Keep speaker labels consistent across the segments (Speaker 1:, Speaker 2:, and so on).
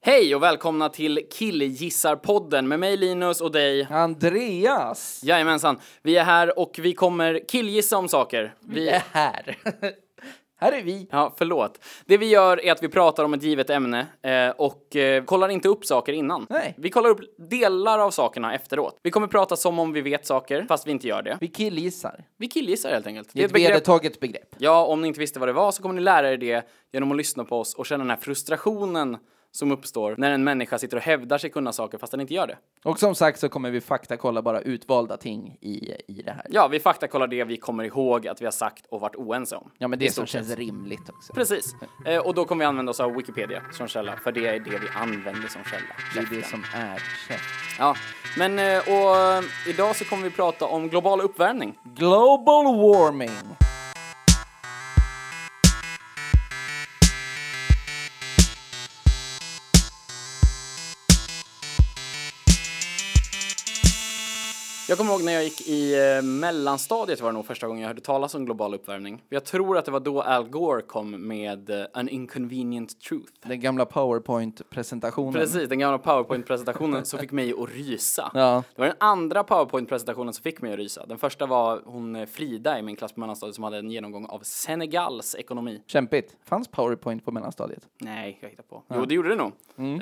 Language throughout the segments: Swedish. Speaker 1: Hej och välkomna till Killgissarpodden med mig Linus och dig.
Speaker 2: Andreas!
Speaker 1: Jajamensan, vi är här och vi kommer killgissa om saker.
Speaker 2: Vi är här. här är vi.
Speaker 1: Ja, förlåt. Det vi gör är att vi pratar om ett givet ämne eh, och eh, kollar inte upp saker innan.
Speaker 2: Nej.
Speaker 1: Vi kollar upp delar av sakerna efteråt. Vi kommer prata som om vi vet saker, fast vi inte gör det.
Speaker 2: Vi killgissar.
Speaker 1: Vi killgissar helt enkelt.
Speaker 2: Det är ett vedertaget begrepp.
Speaker 1: Ja, om ni inte visste vad det var så kommer ni lära er det genom att lyssna på oss och känna den här frustrationen som uppstår när en människa sitter och hävdar sig kunna saker fast den inte gör det.
Speaker 2: Och som sagt så kommer vi faktakolla bara utvalda ting i, i det här.
Speaker 1: Ja, vi faktakollar det vi kommer ihåg att vi har sagt och varit oense om.
Speaker 2: Ja, men det som känns rimligt också.
Speaker 1: Precis. Eh, och då kommer vi använda oss av Wikipedia som källa, för det är det vi använder som källa.
Speaker 2: Det är det som är käft.
Speaker 1: Ja, men eh, och idag så kommer vi prata om global uppvärmning.
Speaker 2: Global warming.
Speaker 1: Jag kommer ihåg när jag gick i eh, mellanstadiet var det nog första gången jag hörde talas om global uppvärmning. Jag tror att det var då Al Gore kom med eh, An Inconvenient Truth.
Speaker 2: Den gamla powerpoint-presentationen.
Speaker 1: Precis, den gamla powerpoint-presentationen som fick mig att rysa.
Speaker 2: Ja.
Speaker 1: Det var den andra powerpoint-presentationen som fick mig att rysa. Den första var hon eh, Frida i min klass på mellanstadiet som hade en genomgång av Senegals ekonomi.
Speaker 2: Kämpigt. Fanns powerpoint på mellanstadiet?
Speaker 1: Nej, jag hittar på. Jo, det gjorde det nog.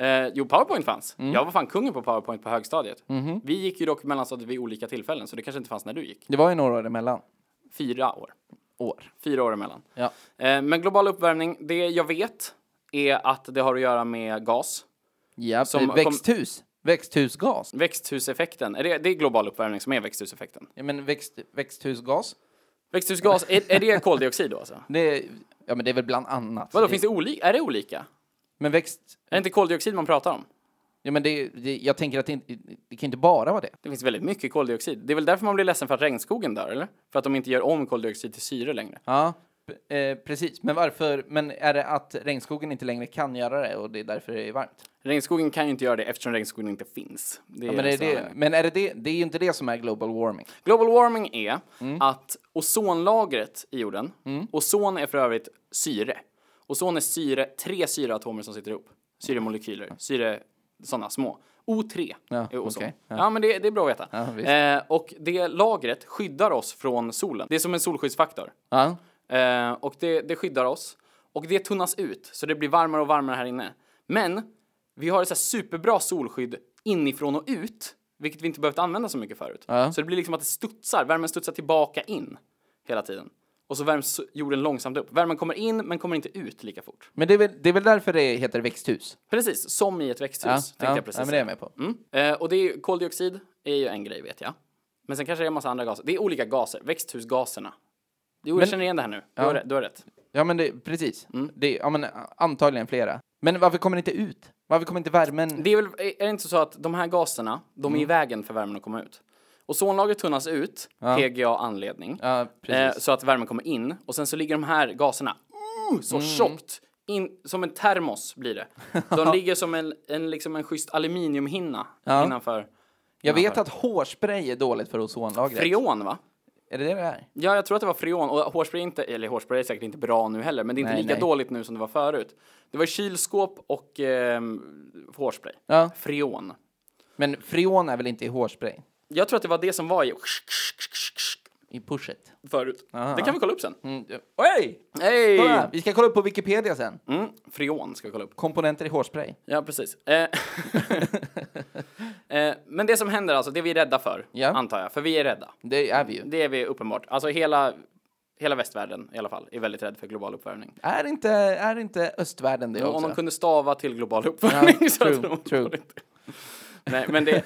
Speaker 1: Eh, jo, powerpoint fanns. Jag var fan kungen på powerpoint på högstadiet. Vi gick ju dock mellanstadiet vid olika tillfällen, så det kanske inte fanns när du gick.
Speaker 2: Det var ju några år emellan.
Speaker 1: Fyra år.
Speaker 2: År.
Speaker 1: Fyra år emellan.
Speaker 2: Ja.
Speaker 1: Eh, men global uppvärmning, det jag vet är att det har att göra med gas.
Speaker 2: Ja, eh,
Speaker 1: Som kom-
Speaker 2: växthus. Växthusgas.
Speaker 1: Växthuseffekten, är det, det är global uppvärmning som är växthuseffekten.
Speaker 2: Ja, men växt, växthusgas.
Speaker 1: Växthusgas, är, är det koldioxid då alltså?
Speaker 2: Det är, ja, men det är väl bland annat.
Speaker 1: Vadå,
Speaker 2: Det-
Speaker 1: finns det olika? Är det olika?
Speaker 2: Men växt...
Speaker 1: Är det inte koldioxid man pratar om?
Speaker 2: Ja, men det, det, jag tänker att det, inte, det kan inte bara vara det.
Speaker 1: Det finns väldigt mycket koldioxid. Det är väl därför man blir ledsen för att regnskogen dör, eller? För att de inte gör om koldioxid till syre längre.
Speaker 2: Ja, p- eh, precis. Men varför? Men är det att regnskogen inte längre kan göra det och det är därför det är varmt?
Speaker 1: Regnskogen kan ju inte göra det eftersom regnskogen inte finns. Det är
Speaker 2: Ja, men, är
Speaker 1: nästan
Speaker 2: det,
Speaker 1: anledningen.
Speaker 2: men är det det? Det är ju inte det som är global warming.
Speaker 1: Global warming är
Speaker 2: Mm.
Speaker 1: att ozonlagret i jorden, ozon är för övrigt syre. Ozon är syre, tre syreatomer som sitter ihop. Syremolekyler, syre, sådana små. O3
Speaker 2: Ja,
Speaker 1: är ozon.
Speaker 2: okej.
Speaker 1: Ja. men det, det är bra att veta.
Speaker 2: Ja, visst.
Speaker 1: eh, och det lagret skyddar oss från solen. Det är som en solskyddsfaktor.
Speaker 2: Ja,
Speaker 1: Eh, och det, det skyddar oss. Och det tunnas ut, så det blir varmare och varmare här inne. Men vi har ett så här superbra solskydd inifrån och ut, vilket vi inte behövt använda så mycket förut.
Speaker 2: Ja.
Speaker 1: Så det blir liksom att det studsar, värmen studsar tillbaka in hela tiden. Och så värms jorden långsamt upp. Värmen kommer in, men kommer inte ut lika fort.
Speaker 2: men det är väl, det är väl därför det heter växthus?
Speaker 1: Precis, som i ett växthus,
Speaker 2: Ja,
Speaker 1: tänkte
Speaker 2: ja,
Speaker 1: jag precis
Speaker 2: ja, men det är jag med på.
Speaker 1: Mm. Eh, och det är ju, koldioxid är ju en grej vet jag. Men sen kanske det är en massa andra gaser. Det är olika gaser, växthusgaserna. Jo, jag
Speaker 2: Men-
Speaker 1: känner igen det här nu. Du, har, rätt- du har rätt.
Speaker 2: Ja, men det, precis. Det, ja, men a- antagligen flera. Men varför kommer det inte ut? Varför kommer inte värmen?
Speaker 1: Det är väl, är det inte så att de här gaserna, de
Speaker 2: Mm.
Speaker 1: är i vägen för värmen att komma ut? Ozonlagret tunnas ut, PGA-anledning,
Speaker 2: Ja,
Speaker 1: eh,
Speaker 2: precis.
Speaker 1: så att värmen kommer in. Och sen så ligger de här gaserna uh, så
Speaker 2: Mm.
Speaker 1: tjockt, in, som en termos blir det. De ligger som en, en, liksom en schysst aluminiumhinna innanför.
Speaker 2: jag vet att hårspray är dåligt för ozonlagret.
Speaker 1: Freon, va?
Speaker 2: Är det det det är?
Speaker 1: Ja, jag tror att det var freon. Och hårspray, är inte, eller hårspray är säkert inte bra nu heller, men det är inte
Speaker 2: Nej,
Speaker 1: lika
Speaker 2: nej.
Speaker 1: dåligt nu som det var förut. Det var kylskåp och ehm, hårspray.
Speaker 2: Ja.
Speaker 1: Freon.
Speaker 2: Men freon är väl inte i hårspray?
Speaker 1: Jag tror att det var det som var i
Speaker 2: I pushet?
Speaker 1: förut. Det kan vi kolla upp sen.
Speaker 2: Mm. Oj!
Speaker 1: Hej!
Speaker 2: Kolla, vi ska kolla upp på Wikipedia sen.
Speaker 1: Mm, freon ska vi kolla upp.
Speaker 2: Komponenter i hårspray.
Speaker 1: Ja, precis. Eh, eh, men det som händer alltså, det vi är rädda för,
Speaker 2: Ja.
Speaker 1: antar jag, för vi är rädda.
Speaker 2: Det är vi ju.
Speaker 1: Det är vi uppenbart. Alltså hela, hela västvärlden i alla fall är väldigt rädd för global uppvärmning.
Speaker 2: Är inte, är inte östvärlden det
Speaker 1: Om
Speaker 2: också?
Speaker 1: de kunde stava till global uppvärmning
Speaker 2: Ja,
Speaker 1: så hade
Speaker 2: true,
Speaker 1: de
Speaker 2: true.
Speaker 1: varit- Nej, men det,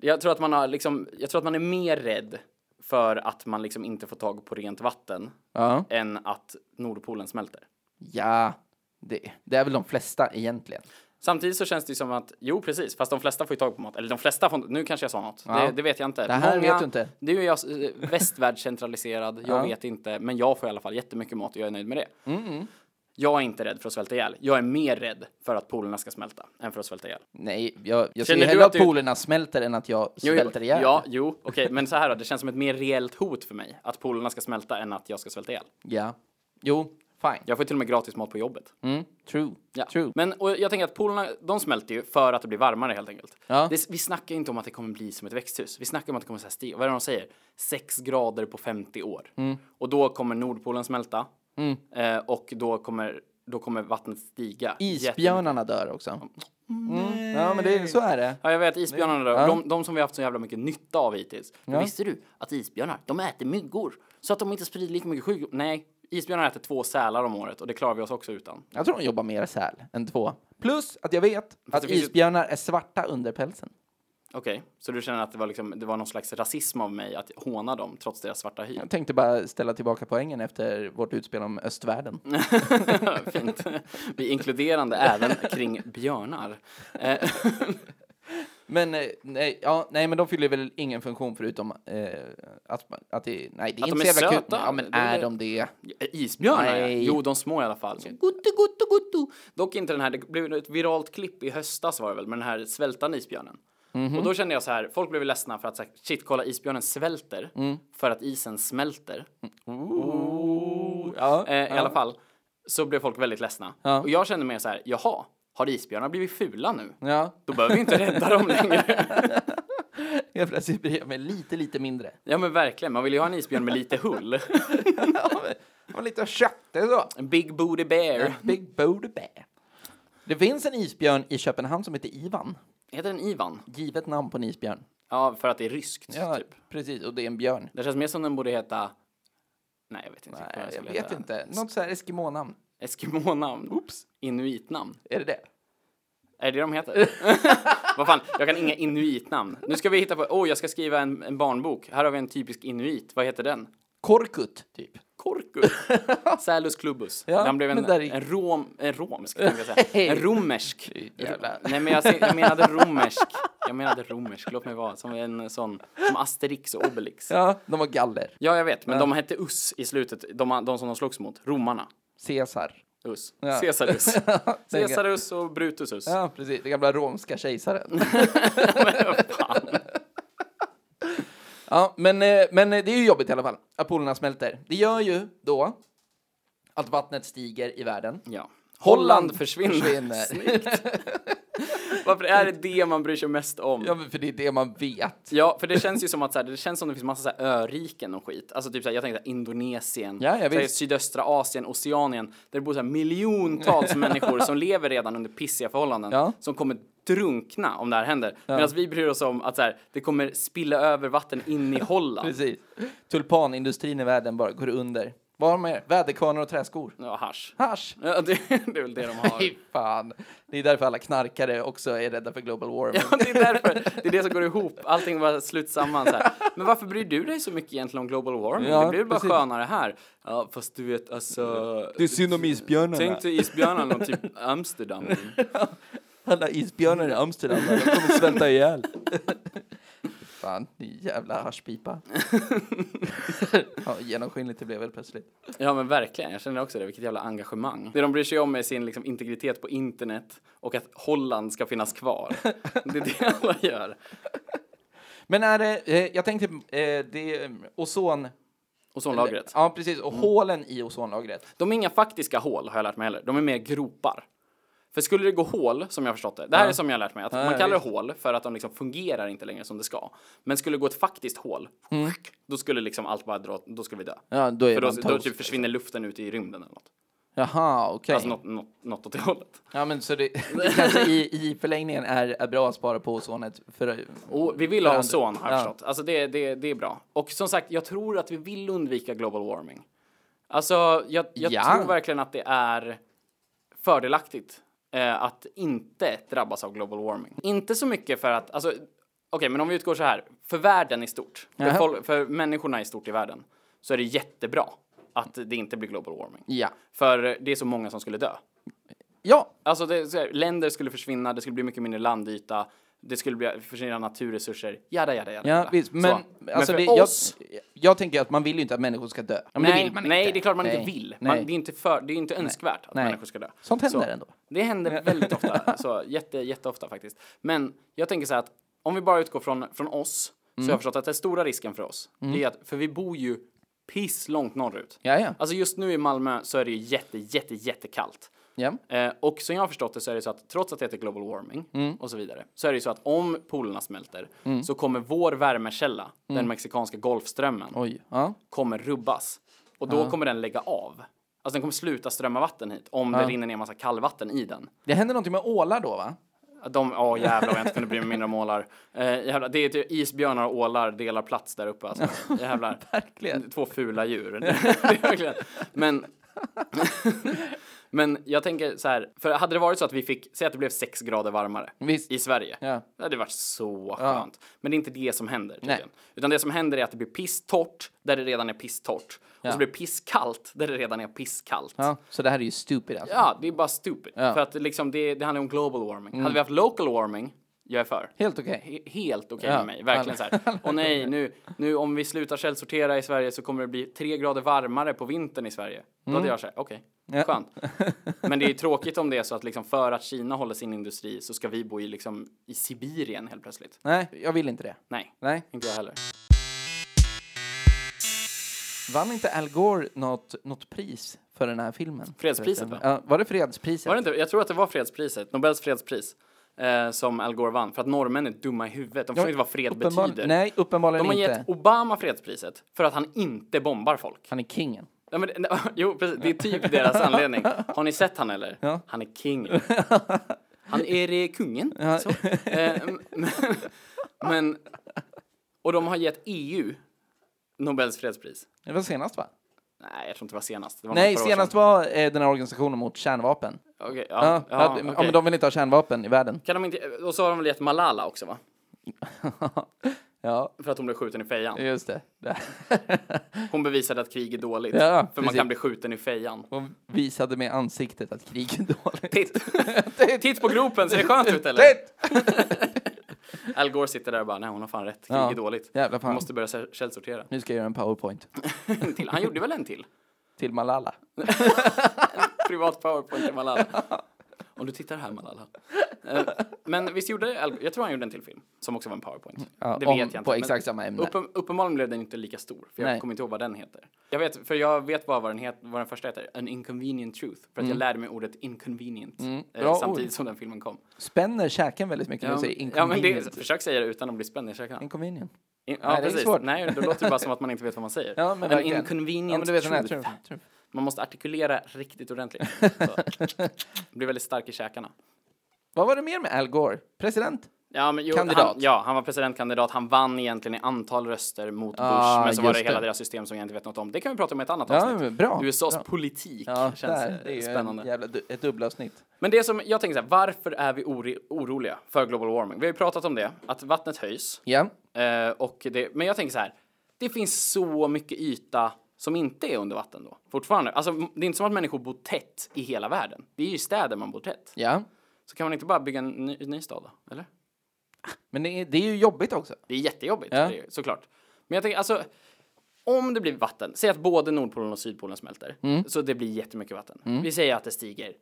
Speaker 1: jag tror att man har liksom, jag tror att man är mer rädd för att man liksom inte får tag på rent vatten
Speaker 2: Ja.
Speaker 1: än att Nordpolen smälter.
Speaker 2: ja det, det är väl de flesta egentligen.
Speaker 1: Samtidigt så känns det ju som att, jo precis, fast de flesta får ju tag på mat. Eller de flesta får nu kanske jag sa något. Det, det vet jag inte. Det
Speaker 2: här vet du inte.
Speaker 1: Nu är jag eh, västvärldscentraliserad, jag vet inte, men jag får i alla fall jättemycket mat och jag är nöjd med det.
Speaker 2: Mm,
Speaker 1: Jag är inte rädd för att svälta ihjäl. Jag är mer rädd för att polerna ska smälta än för att svälta ihjäl.
Speaker 2: Nej, jag, jag
Speaker 1: Känner
Speaker 2: ser
Speaker 1: du
Speaker 2: hellre
Speaker 1: att
Speaker 2: att
Speaker 1: du-
Speaker 2: polerna smälter än att jag
Speaker 1: Jo, jo,
Speaker 2: svälter ihjäl.
Speaker 1: Ja, jo, okej, men så här då, det känns som ett mer reellt hot för mig att polerna ska smälta än att jag ska svälta ihjäl.
Speaker 2: ja. Jo, Fine.
Speaker 1: Jag får till och med gratis mat på jobbet.
Speaker 2: Mm. True.
Speaker 1: Ja.
Speaker 2: True.
Speaker 1: Men och jag tänker att polerna, de smälter ju för att det blir varmare helt enkelt.
Speaker 2: Ja.
Speaker 1: Det, vi snackar ju inte om att det kommer bli som ett växthus. Vi snackar om att det kommer så här stiga, vad är det de säger? 6 grader på 50 år.
Speaker 2: Mm.
Speaker 1: Och då kommer Nordpolen smälta. Eh, och då kommer, då kommer vattnet stiga. jättemycket.
Speaker 2: Isbjörnarna dör också. Mm. Ja, men det, är- så är det.
Speaker 1: Ja, jag vet isbjörnarna då. De, de som vi har haft så jävla mycket nytta av hittills. Men visste du att isbjörnar, de äter myggor? Så att de inte sprider lika mycket sjukdom. Nej, isbjörnar äter två sälar om året och det klarar vi oss också utan.
Speaker 2: Jag tror de jobbar mer säl än två. Plus att jag vet att
Speaker 1: det finns ju-
Speaker 2: isbjörnar är svarta under pälsen.
Speaker 1: Okej, så du känner att det var, liksom, det var någon slags rasism av mig att håna dem trots deras svarta hy?
Speaker 2: Jag tänkte bara ställa tillbaka poängen efter vårt utspel om östvärlden.
Speaker 1: Fint. Vi är inkluderande även kring björnar. Eh,
Speaker 2: Men eh, nej, ja, nej, men de fyller väl ingen funktion förutom eh, att, man- att det, nej, det är
Speaker 1: Att
Speaker 2: inte
Speaker 1: de är
Speaker 2: så jävla kul.
Speaker 1: söta,
Speaker 2: Ja, men
Speaker 1: det är
Speaker 2: är
Speaker 1: det.
Speaker 2: de det?
Speaker 1: isbjörnar, ja.
Speaker 2: Nej.
Speaker 1: Jo, de små i alla fall. Guttu, guttu, guttu. Dock inte den här, det blev ett viralt klipp i höstas var det väl, med den här svältande isbjörnen. Och då kände jag så här, folk blev ledsna för att så här, shit, kolla isbjörnen svälter för att isen smälter.
Speaker 2: Ja.
Speaker 1: Eh, I alla fall så blev folk väldigt ledsna.
Speaker 2: Ja.
Speaker 1: Och jag kände mer så här, jaha, har isbjörnar blivit fula nu?
Speaker 2: Ja,
Speaker 1: Då behöver vi inte rädda dem längre.
Speaker 2: jag plötsligt bryr jag mig lite, lite mindre.
Speaker 1: Ja men verkligen, man vill ju ha en isbjörn med lite hull.
Speaker 2: Ja, men- Och lite kött, det är så.
Speaker 1: En big booty bear.
Speaker 2: Big Booty Bear. Det finns en isbjörn i Köpenhamn som heter Ivan.
Speaker 1: Heter den Ivan?
Speaker 2: Givet namn på en isbjörn.
Speaker 1: Ja, för att det är ryskt.
Speaker 2: Ja,
Speaker 1: Typ.
Speaker 2: precis. Och det är en björn.
Speaker 1: Det känns mer som den borde heta... Nej, jag vet inte. riktigt vad
Speaker 2: Nej, jag
Speaker 1: skulle
Speaker 2: vet
Speaker 1: heta.
Speaker 2: inte. Något så här Eskimo-namn.
Speaker 1: Eskimo-namn.
Speaker 2: Oops.
Speaker 1: Inuitnamn.
Speaker 2: Är det det?
Speaker 1: Är det det de heter? Vad fan, jag kan inga inuitnamn. Nu ska vi hitta på... Åh, oh, jag ska skriva en, en barnbok. Här har vi en typisk inuit. Vad heter den?
Speaker 2: Korkut, typ.
Speaker 1: Korku. Salus clubus.
Speaker 2: Ja,
Speaker 1: han blev en,
Speaker 2: men där gick-
Speaker 1: en, rom, en romsk, tänkte jag säga. En romersk.
Speaker 2: Jävlar.
Speaker 1: Nej, men jag, se- jag menade romersk. Jag menade romersk, låt mig vara. Som en sån, som Asterix och Obelix.
Speaker 2: Ja, de var galler.
Speaker 1: Ja, jag vet. Men de hette Us i slutet. De, de som de slogs mot. Romarna.
Speaker 2: Caesar.
Speaker 1: Us.
Speaker 2: Ja.
Speaker 1: Caesarus. Caesarus och Brutusus.
Speaker 2: Ja, precis. Den gamla romska kejsaren. ja, men, eh, men eh, det är ju jobbigt i alla fall. Att polerna smälter. Det gör ju då att vattnet stiger i världen.
Speaker 1: Ja. Holland försvinner.
Speaker 2: försvinner.
Speaker 1: Varför är det det man bryr sig mest om?
Speaker 2: Ja,
Speaker 1: Ja.
Speaker 2: men för det är det man vet.
Speaker 1: för det känns ju som att så här, det känns som det finns massa så här, öriken och skit. Alltså typ så här, jag tänker så här, Indonesien,
Speaker 2: Ja, ja,
Speaker 1: så här,
Speaker 2: visst.
Speaker 1: sydöstra Asien, Oceanien. Där det bor så här, miljontals människor som lever redan under pissiga förhållanden.
Speaker 2: Ja.
Speaker 1: Som kommer drunkna om det här händer. Medan vi bryr oss om att så här, det kommer spilla över vatten in i Holland.
Speaker 2: Precis. Tulpanindustrin i världen bara går under. Vad har de mer? Väderkvarnar och träskor.
Speaker 1: Ja, hasch.
Speaker 2: Hasch!
Speaker 1: Ja, det, det är väl det de har.
Speaker 2: Fy fan. Det är därför alla knarkare också är rädda för global warming.
Speaker 1: Ja, det är därför. Det är det som går ihop. Allting bara sluts samman så här. Men varför bryr du dig så mycket egentligen om global warming?
Speaker 2: Ja,
Speaker 1: det blir väl bara
Speaker 2: precis.
Speaker 1: skönare här. Ja, fast du vet alltså.
Speaker 2: Det är synd om isbjörnarna.
Speaker 1: Tänk dig isbjörnarna och typ Amsterdam.
Speaker 2: Alla isbjörnar i Amsterdam, de kommer svälta ihjäl. Fan, din jävla haschpipa. ja, genomskinligt det blev väl plötsligt.
Speaker 1: Ja men verkligen, jag känner också det. Vilket jävla engagemang. Det de bryr sig om är sin liksom, integritet på internet och att Holland ska finnas kvar. Det är det alla gör.
Speaker 2: Men är det, eh, jag tänkte, eh, det är ozon...
Speaker 1: Ozonlagret.
Speaker 2: Ja, precis. Och hålen i ozonlagret.
Speaker 1: De är inga faktiska hål har jag lärt mig heller. De är mer gropar. För skulle det gå hål, som jag har förstått det. Det här är som jag har lärt mig. Att man kallar det hål för att de liksom fungerar inte längre som det ska. Men skulle det gå ett faktiskt hål, då skulle liksom allt bara dra, då skulle vi dö.
Speaker 2: Ja, då är
Speaker 1: för då,
Speaker 2: man
Speaker 1: då
Speaker 2: toast,
Speaker 1: typ försvinner luften ut i rymden eller något.
Speaker 2: Jaha, okej.
Speaker 1: Alltså något, något, något åt det hållet.
Speaker 2: Ja, men så det, det kanske i, i förlängningen är, är bra att spara på ozonet för...
Speaker 1: Och vi vill ha ozon har jag
Speaker 2: Ja.
Speaker 1: förstått. Alltså det, det, det är bra. Och som sagt, jag tror att vi vill undvika global warming. Alltså jag, jag
Speaker 2: Ja.
Speaker 1: tror verkligen att det är fördelaktigt eh, att inte drabbas av global warming. Inte så mycket för att, alltså okej men om vi utgår så här, för världen i stort, för,
Speaker 2: Jaha.
Speaker 1: folk, för människorna i stort i världen, så är det jättebra att det inte blir global warming.
Speaker 2: Ja.
Speaker 1: För det är så många som skulle dö.
Speaker 2: Ja,
Speaker 1: Alltså det, så här, länder skulle försvinna, det skulle bli mycket mindre landyta, det skulle bli, försvinna naturresurser, jada jada jada.
Speaker 2: ja
Speaker 1: jada.
Speaker 2: visst.
Speaker 1: Så.
Speaker 2: Men,
Speaker 1: men
Speaker 2: alltså,
Speaker 1: för
Speaker 2: det, jag,
Speaker 1: oss,
Speaker 2: jag tänker att man vill ju inte att människor ska dö. Ja, men det
Speaker 1: nej,
Speaker 2: vill man
Speaker 1: nej
Speaker 2: inte.
Speaker 1: det är klart man
Speaker 2: Nej.
Speaker 1: inte vill. Man, det, är inte för, det är inte önskvärt att
Speaker 2: Nej.
Speaker 1: människor ska dö.
Speaker 2: Sånt händer
Speaker 1: så,
Speaker 2: ändå.
Speaker 1: Det händer väldigt ofta, så jätte, jätteofta faktiskt. Men jag tänker så här att
Speaker 2: Mm.
Speaker 1: om vi bara utgår från, från oss, så har jag förstått att den stora risken för oss, det är att, för vi bor ju piss långt norrut.
Speaker 2: Ja, ja.
Speaker 1: Alltså just nu i Malmö så är det ju jätte, jätte, jättekallt.
Speaker 2: ja.
Speaker 1: Eh, och som jag har förstått det så är det så att trots att det heter global warming och så vidare så är det ju så att om polerna smälter så kommer vår värmekälla, den mexikanska golfströmmen,
Speaker 2: Oj. Ja.
Speaker 1: kommer rubbas. Och då kommer den lägga av. Alltså den kommer sluta strömma vatten hit om det rinner ner massa kallvatten i den.
Speaker 2: Det händer någonting med ålar då, va?
Speaker 1: De, åh jävlar vad jag inte kunde bry mig mindre om ålar. Eh, jävlar, det är typ isbjörnar och ålar delar plats där uppe alltså. Jävlar.
Speaker 2: Verkligen.
Speaker 1: Två fula djur. Det är verkligen- Men, men jag tänker så här, för hade det varit så att vi fick, säg att det blev sex grader varmare
Speaker 2: Visst.
Speaker 1: i Sverige.
Speaker 2: Ja.
Speaker 1: Det hade varit så skönt. Men det är inte det som händer tydligen.
Speaker 2: Nej.
Speaker 1: Utan det som händer är att det blir pisstort där det redan är pisstort. Och så blir det pisskallt där det redan är pisskallt. Ja.
Speaker 2: Ja. Så det här är ju stupid alltså.
Speaker 1: det är bara stupid.
Speaker 2: Ja. Mm.
Speaker 1: För att det liksom, det, det handlar om global warming. Hade vi haft local warming, jag är för.
Speaker 2: Helt okej.
Speaker 1: He- helt okej
Speaker 2: Ja.
Speaker 1: med mig. Verkligen så här. Och nej, nu, nu om vi slutar källsortera i Sverige så kommer det bli tre grader varmare på vintern i Sverige. Då
Speaker 2: Mm.
Speaker 1: hade jag så här, okej, skönt. Men det är ju tråkigt om det är så att liksom för att Kina håller sin industri så ska vi bo i, liksom, i Sibirien helt plötsligt.
Speaker 2: Nej, jag vill inte det.
Speaker 1: Nej,
Speaker 2: Nej.
Speaker 1: inte jag heller.
Speaker 2: Vann inte Al Gore något, något pris för den här filmen?
Speaker 1: Fredspriset,
Speaker 2: Förresten. Ja, var det fredspriset?
Speaker 1: Var det inte? Jag tror att det var fredspriset, Nobels fredspris, eh, som Al Gore vann. För att norrmän är dumma i huvudet. De förstår inte vad fred
Speaker 2: Uppenbar-
Speaker 1: betyder.
Speaker 2: Nej,
Speaker 1: De
Speaker 2: uppenbarligen
Speaker 1: har
Speaker 2: inte.
Speaker 1: gett Obama fredspriset för att han inte bombar folk.
Speaker 2: Han är kingen.
Speaker 1: Ja, men, det- jo, precis. Det är typ deras anledning. Har ni sett han eller? Han är king. Han är eh, kungen. Så. Eh, men, men, och de har gett EU Nobels fredspris.
Speaker 2: Det var senast va?
Speaker 1: Nej, jag tror inte det var senast. Det var
Speaker 2: Nej,
Speaker 1: något par år
Speaker 2: senast
Speaker 1: sedan.
Speaker 2: var eh, den här organisationen mot kärnvapen.
Speaker 1: Okej,
Speaker 2: Ja,
Speaker 1: ja, ja,
Speaker 2: att- ja,
Speaker 1: okej.
Speaker 2: men de vill inte ha kärnvapen i världen.
Speaker 1: Kan de inte, och så har de väl gett Malala också va?
Speaker 2: Ja,
Speaker 1: För att hon blev skjuten i fejan.
Speaker 2: just det. det.
Speaker 1: Hon bevisade att krig är dåligt.
Speaker 2: Ja,
Speaker 1: för man
Speaker 2: precis.
Speaker 1: kan bli skjuten i fejan.
Speaker 2: Och visade med ansiktet att krig är dåligt.
Speaker 1: Titt! Titt på gropen, ser det skönt ut eller?
Speaker 2: Titt!
Speaker 1: Al Gore sitter där och bara, nej hon har fan rätt. Krig
Speaker 2: Ja,
Speaker 1: är dåligt.
Speaker 2: jävla fan.
Speaker 1: Vi måste börja käll- källsortera.
Speaker 2: Nu ska jag göra en powerpoint
Speaker 1: En till. Han gjorde väl en till?
Speaker 2: till Malala.
Speaker 1: Privat powerpoint till Malala. Om du tittar här Malala. Eh, Men visst gjorde Al- jag tror han gjorde en till film som också var en powerpoint.
Speaker 2: Mm. Ja,
Speaker 1: det
Speaker 2: om-
Speaker 1: vet jag inte.
Speaker 2: på
Speaker 1: men
Speaker 2: exakt samma ämne.
Speaker 1: uppen- uppenbarligen blev den inte lika stor, för jag
Speaker 2: Nej.
Speaker 1: kommer inte ihåg vad den heter. Jag vet, för jag vet bara vad den, het, vad den första heter, An Inconvenient Truth, för att jag lärde mig ordet inconvenient eh,
Speaker 2: Mm. bra
Speaker 1: samtidigt
Speaker 2: ord.
Speaker 1: som den filmen kom.
Speaker 2: Spänner käken väldigt mycket när du säger
Speaker 1: ja, men
Speaker 2: inconvenient.
Speaker 1: det, försök säga det utan att bli spänd i käkarna.
Speaker 2: Inconvenient.
Speaker 1: In,
Speaker 2: Nej,
Speaker 1: ja,
Speaker 2: det är
Speaker 1: precis.
Speaker 2: svårt.
Speaker 1: Nej, då låter det bara som att man inte vet vad man säger.
Speaker 2: Ja, men
Speaker 1: An
Speaker 2: verkligen.
Speaker 1: inconvenient
Speaker 2: Ja, men du vet den här.
Speaker 1: truth.
Speaker 2: Truth. Truth.
Speaker 1: Man måste artikulera riktigt ordentligt. Så. Blir väldigt stark i käkarna.
Speaker 2: Vad var det mer med Al Gore? President?
Speaker 1: Ja, men jo,
Speaker 2: Kandidat.
Speaker 1: Han, ja, han var presidentkandidat. Han vann egentligen i antal röster mot
Speaker 2: Ah,
Speaker 1: Bush, men så var det
Speaker 2: just
Speaker 1: hela
Speaker 2: det.
Speaker 1: deras system som jag inte vet något om. Det kan vi prata om i ett annat
Speaker 2: Ja,
Speaker 1: avsnitt.
Speaker 2: men bra,
Speaker 1: USAs
Speaker 2: bra.
Speaker 1: politik känns
Speaker 2: där,
Speaker 1: eh,
Speaker 2: ju
Speaker 1: spännande.
Speaker 2: En jävla, du- ett dubbelavsnitt.
Speaker 1: Men det som jag tänker så här, varför är vi ori- oroliga för global warming? Vi har ju pratat om det, att vattnet höjs.
Speaker 2: Ja.
Speaker 1: Eh, och det, men jag tänker så här, det finns så mycket yta som inte är under vatten då, fortfarande. Alltså, m- det är inte som att människor bor tätt i hela världen. Det är ju i städer man bor tätt.
Speaker 2: ja.
Speaker 1: Så kan man inte bara bygga en ny, ny stad då, eller?
Speaker 2: Men det är, det är ju jobbigt också.
Speaker 1: Det är jättejobbigt,
Speaker 2: Ja.
Speaker 1: det är, ju- såklart. Men jag tänker, alltså, om det blir vatten, säg att både Nordpolen och Sydpolen smälter, så det blir jättemycket vatten. Vi säger att det stiger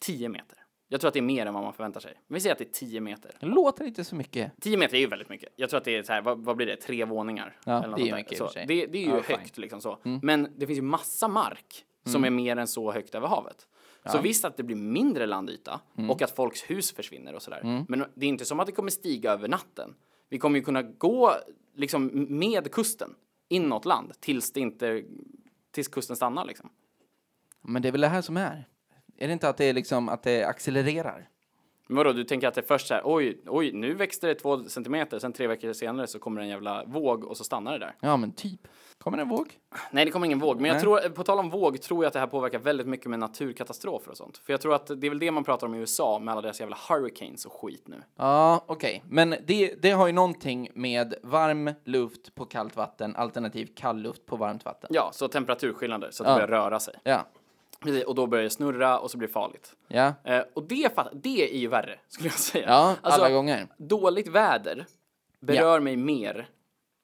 Speaker 1: 10 meter. Jag tror att det är mer än vad man förväntar sig. Men vi säger att det är 10 meter.
Speaker 2: Det låter inte så mycket.
Speaker 1: 10 meter är ju väldigt mycket. Jag tror att det är så här, vad, vad blir det, tre våningar?
Speaker 2: Ja,
Speaker 1: något
Speaker 2: det är ju
Speaker 1: sånt där.
Speaker 2: mycket i och
Speaker 1: så,
Speaker 2: för sig.
Speaker 1: det, det är ju
Speaker 2: Ja, fine. Mm.
Speaker 1: högt liksom så. Men det finns ju massa mark som är mer än så högt över havet. Så visst att det blir mindre landyta
Speaker 2: Mm.
Speaker 1: och att folks hus försvinner och sådär. Men det är inte som att det kommer stiga över natten. Vi kommer ju kunna gå liksom med kusten inåt land tills det inte, tills kusten stannar liksom.
Speaker 2: Men det är väl det här som är. Är det inte att det, är liksom, att det accelererar?
Speaker 1: Men vadå, du tänker att det är först så här, oj, oj, nu växte det två centimeter, sen tre veckor senare så kommer det en jävla våg och så stannar det där.
Speaker 2: Ja, men typ. Kommer en våg?
Speaker 1: Nej, det kommer ingen våg. Men jag
Speaker 2: Nej.
Speaker 1: tror, på tal om våg tror jag att det här påverkar väldigt mycket med naturkatastrofer och sånt. För jag tror att det är väl det man pratar om i USA med alla deras jävla hurricanes och skit nu.
Speaker 2: Ja, okej. Men det, det har ju någonting med varm luft på kallt vatten alternativt kall luft på varmt vatten.
Speaker 1: Ja, så temperaturskillnader så att det börjar röra sig.
Speaker 2: Ja,
Speaker 1: Precis, Och då börjar det snurra och så blir det farligt.
Speaker 2: ja,
Speaker 1: Eh, och det, fatt- det är ju värre, skulle jag säga. Alltså,
Speaker 2: ja alla gånger.
Speaker 1: Dåligt väder berör mig mer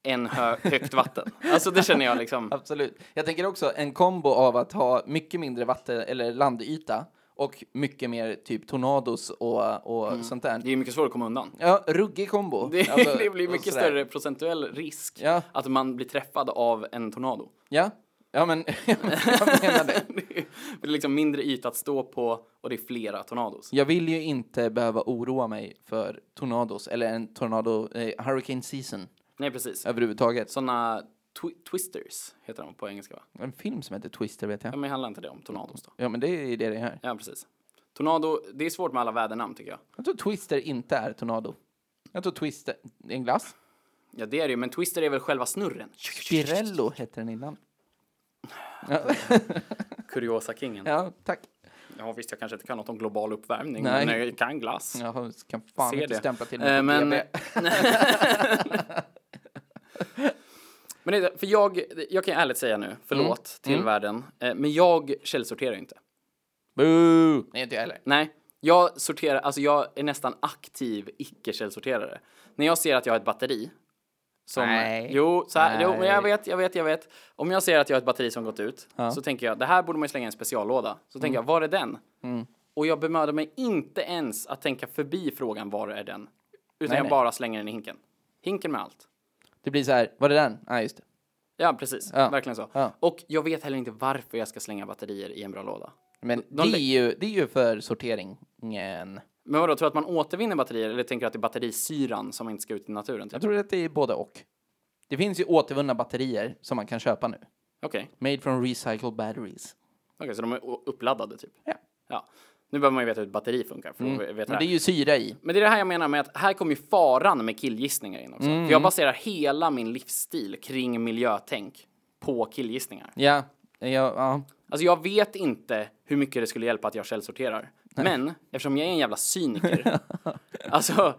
Speaker 1: än hö- högt vatten. Alltså det känner jag liksom.
Speaker 2: Absolut. Jag tänker också en kombo av att ha mycket mindre vatten eller landyta Och mycket mer typ tornados och, och sånt där.
Speaker 1: Det är ju mycket svårare att komma undan.
Speaker 2: Ja, ruggig kombo.
Speaker 1: Det,
Speaker 2: Alltså,
Speaker 1: det blir
Speaker 2: och
Speaker 1: mycket
Speaker 2: sådär.
Speaker 1: större procentuell risk
Speaker 2: Ja.
Speaker 1: att man blir träffad av en tornado.
Speaker 2: Ja, ja men jag menar det.
Speaker 1: det är det är liksom mindre yta att stå på och det är flera tornados.
Speaker 2: Jag vill ju inte behöva oroa mig för tornados eller en tornado, eh, hurricane season
Speaker 1: Nej, precis.
Speaker 2: överhuvudtaget.
Speaker 1: Såna twi- twisters heter de på engelska, va?
Speaker 2: En film som heter Twister vet
Speaker 1: Ja,
Speaker 2: jag.
Speaker 1: men handlar inte det om tornados då?
Speaker 2: Ja men det är ju det det är.
Speaker 1: Ja, precis. Tornado, det är svårt med alla vädernamn tycker jag.
Speaker 2: Jag tror Twister inte är tornado. Jag tror Twister, det är en glass.
Speaker 1: Ja, det är det ju, men twister är väl själva snurren?
Speaker 2: Pirello hette den innan.
Speaker 1: Kuriosa-kingen. Ja.
Speaker 2: Ja, tack.
Speaker 1: visst, jag kanske inte kan något om global uppvärmning,
Speaker 2: Nej.
Speaker 1: men jag kan glass.
Speaker 2: Jag har- kan fan
Speaker 1: Ser
Speaker 2: inte
Speaker 1: det.
Speaker 2: stämpla till
Speaker 1: Eh,
Speaker 2: mig på
Speaker 1: men-
Speaker 2: GB.
Speaker 1: Men det, är- för jag, jag kan ärligt säga nu, förlåt till världen, eh, men jag källsorterar inte.
Speaker 2: Boo! Nej, inte jag heller.
Speaker 1: Nej, jag sorterar, alltså jag är nästan aktiv icke-källsorterare. När jag ser att jag har ett batteri som,
Speaker 2: Nej.
Speaker 1: Jo, så här, jo, men jag
Speaker 2: Nej.
Speaker 1: vet, jag vet, jag vet. Om jag ser att jag har ett batteri som gått ut så tänker jag, det här borde man ju slänga i en speciallåda. Så
Speaker 2: Mm.
Speaker 1: tänker jag, var är den? Och jag bemödar mig inte ens att tänka förbi frågan, var är den? Utan jag
Speaker 2: nej.
Speaker 1: bara slänger den i hinken. Hinken med allt.
Speaker 2: Det blir så här, var det den? Nej, just det.
Speaker 1: Ja, precis.
Speaker 2: Ja.
Speaker 1: Verkligen så.
Speaker 2: Ja.
Speaker 1: Och jag vet heller inte varför jag ska slänga batterier i en bra låda.
Speaker 2: Men
Speaker 1: de
Speaker 2: det,
Speaker 1: lä-
Speaker 2: är ju, det är ju för sorteringen.
Speaker 1: Men vadå, tror du att man återvinner batterier eller tänker du att det är batterisyran som inte ska ut i naturen? Typ?
Speaker 2: Jag tror att det är både och. Det finns ju återvunna batterier som man kan köpa nu.
Speaker 1: Okej,
Speaker 2: Made from recycled batteries.
Speaker 1: Okej, så de är o- uppladdade typ?
Speaker 2: Ja. Mm.
Speaker 1: ja. Nu behöver man ju veta hur ett batteri funkar för att veta
Speaker 2: Men
Speaker 1: det
Speaker 2: det är
Speaker 1: här.
Speaker 2: ju syra i.
Speaker 1: Men det är det här jag menar med att här kommer ju faran med killgissningar in också.
Speaker 2: Mm.
Speaker 1: För jag baserar hela min livsstil kring miljötänk på killgissningar.
Speaker 2: Ja, ja, ja.
Speaker 1: Alltså jag vet inte hur mycket det skulle hjälpa att jag källsorterar. Men eftersom jag är en jävla cyniker. alltså.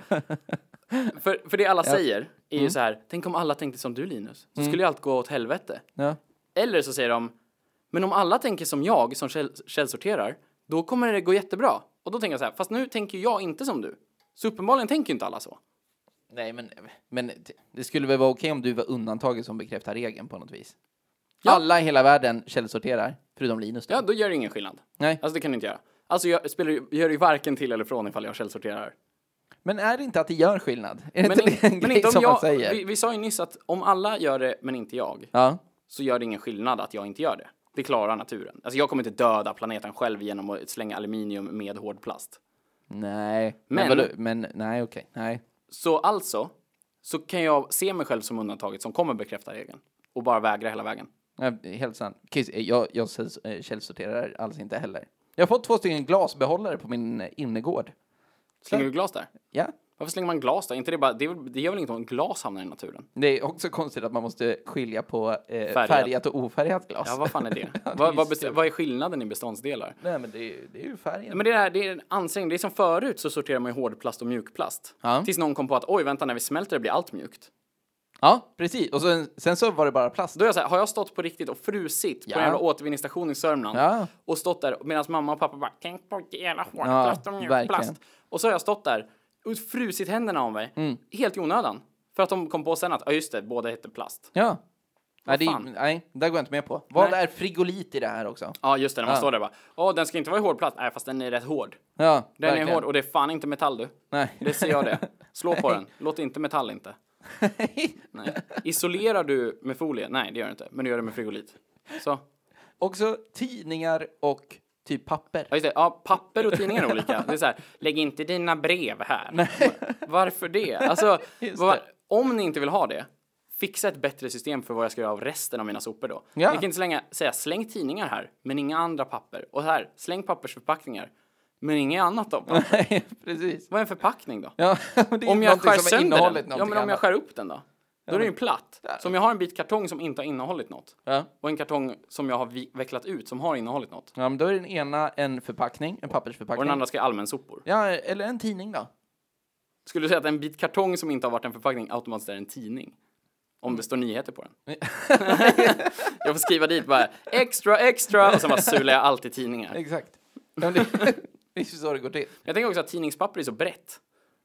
Speaker 1: För, för det alla säger är
Speaker 2: Mm.
Speaker 1: ju så här. Tänk om alla tänkte som du Linus. Så skulle ju allt gå åt helvete.
Speaker 2: ja.
Speaker 1: Eller så säger de. Men om alla tänker som jag som käll, källsorterar. Då kommer det gå jättebra. Och då tänker jag så här. Fast nu tänker jag inte som du. Så uppenbarligen tänker ju inte alla så.
Speaker 2: Nej, men, men det- det skulle väl vara okej om du var undantaget som bekräftar regeln på något vis.
Speaker 1: Ja.
Speaker 2: Alla i hela världen källsorterar, förutom Linus. då.
Speaker 1: Ja, då gör det ingen skillnad.
Speaker 2: Nej.
Speaker 1: Alltså det kan du inte göra. Alltså jag spelar, ju- gör det ju varken till eller från ifall jag källsorterar.
Speaker 2: Men är det inte att det gör skillnad? Är det
Speaker 1: Men,
Speaker 2: inte det en
Speaker 1: men
Speaker 2: grej
Speaker 1: inte om
Speaker 2: som man
Speaker 1: jag,
Speaker 2: säger?
Speaker 1: vi, vi sa ju nyss att om alla gör det men inte jag,
Speaker 2: Ja.
Speaker 1: så gör det ingen skillnad att jag inte gör det. Det klarar naturen. Alltså jag kommer inte döda planeten själv genom att slänga aluminium med hård plast.
Speaker 2: Nej.
Speaker 1: Men-
Speaker 2: Men, vadå? men nej, okej. Nej.
Speaker 1: Så alltså, så kan jag se mig själv som undantaget som kommer bekräfta regeln. Och bara vägra hela vägen.
Speaker 2: Nej, det är Helt sant. Kiss, eh, Jag, jag säls- eh, källsorterar alls inte heller. Jag har fått två stycken glasbehållare på min eh, innergård.
Speaker 1: Slänger du glas där?
Speaker 2: Ja.
Speaker 1: Varför slänger man glas där? Inte det, bara, det, är väl- det gör väl inget om glas hamnar i naturen?
Speaker 2: Det är också konstigt att man måste skilja på eh,
Speaker 1: Färgat.
Speaker 2: färgat. och ofärgat glas.
Speaker 1: Ja, vad fan är det?
Speaker 2: Ja,
Speaker 1: vad,
Speaker 2: ju
Speaker 1: vad, best-
Speaker 2: surt.
Speaker 1: vad är skillnaden i beståndsdelar?
Speaker 2: Nej, men det är, det är ju färgen.
Speaker 1: Men det, här, det är en ansträngning. Det är som förut så sorterar man ju hårdplast och mjukplast.
Speaker 2: Ja.
Speaker 1: Tills någon kom på att oj, vänta, när vi smälter det blir allt mjukt.
Speaker 2: Ja, precis. Och sen, sen så var det bara plast.
Speaker 1: Då är jag så här, har jag stått på riktigt och frusit på
Speaker 2: Ja.
Speaker 1: en jävla återvinningsstation i Sörmland
Speaker 2: Ja.
Speaker 1: och stått där medan mamma och pappa bara tänk på hela hårdplast och
Speaker 2: verkligen.
Speaker 1: mjukplast. Och så har jag stått där och frusit händerna om mig
Speaker 2: Mm.
Speaker 1: helt i onödan. För att de kom på sen att, ja just det, båda hette plast.
Speaker 2: Ja. Nej, det, är-
Speaker 1: fan.
Speaker 2: nej, det går jag inte med på. Vad
Speaker 1: Nej.
Speaker 2: är frigolit i det här också?
Speaker 1: Ja just det, när man står där bara, åh den ska inte vara i hårdplast, nej fast den är rätt hård.
Speaker 2: Ja,
Speaker 1: Den
Speaker 2: verkligen.
Speaker 1: är hård och det är fan inte metall du.
Speaker 2: Nej.
Speaker 1: Det ser jag det. Slå på den, låt inte metall inte. Nej. Isolerar du med folie? Nej det gör du inte, men du gör det med frigolit. Så.
Speaker 2: också tidningar och typ papper.
Speaker 1: Ja, just det. Ja, papper och tidningar är olika. Det är så här, lägg inte dina brev här. Varför det? Alltså,
Speaker 2: Just
Speaker 1: vad-
Speaker 2: det.
Speaker 1: om ni inte vill ha det, fixa ett bättre system för vad jag ska göra av resten av mina sopor då.
Speaker 2: Ja.
Speaker 1: Ni kan inte slänga, säga släng tidningar här, men inga andra papper. Och här, släng pappersförpackningar, men inget annat av papper.
Speaker 2: Nej, precis.
Speaker 1: Vad är en förpackning då?
Speaker 2: Ja, men det är
Speaker 1: Om jag
Speaker 2: någonting
Speaker 1: skär
Speaker 2: som är
Speaker 1: sönder
Speaker 2: innehållet
Speaker 1: den, ja
Speaker 2: någonting
Speaker 1: men om jag
Speaker 2: annat.
Speaker 1: skär upp den då? Då är den ju platt. Så om jag har en bit kartong som inte har innehållit något
Speaker 2: Ja.
Speaker 1: och en kartong som jag har vi- vecklat ut som har innehållit något
Speaker 2: ja, men då är den ena en förpackning, en
Speaker 1: och
Speaker 2: pappersförpackning.
Speaker 1: den andra ska i allmänsopor.
Speaker 2: Ja, eller en tidning då.
Speaker 1: Skulle du säga att en bit kartong som inte har varit en förpackning automatiskt är en tidning? Om det står nyheter på den. jag får skriva dit bara extra, extra och sen bara sular jag alltid tidningar.
Speaker 2: Exakt. Ja, men det, det är ju så det går till.
Speaker 1: Jag tänker också att tidningspapper är så brett.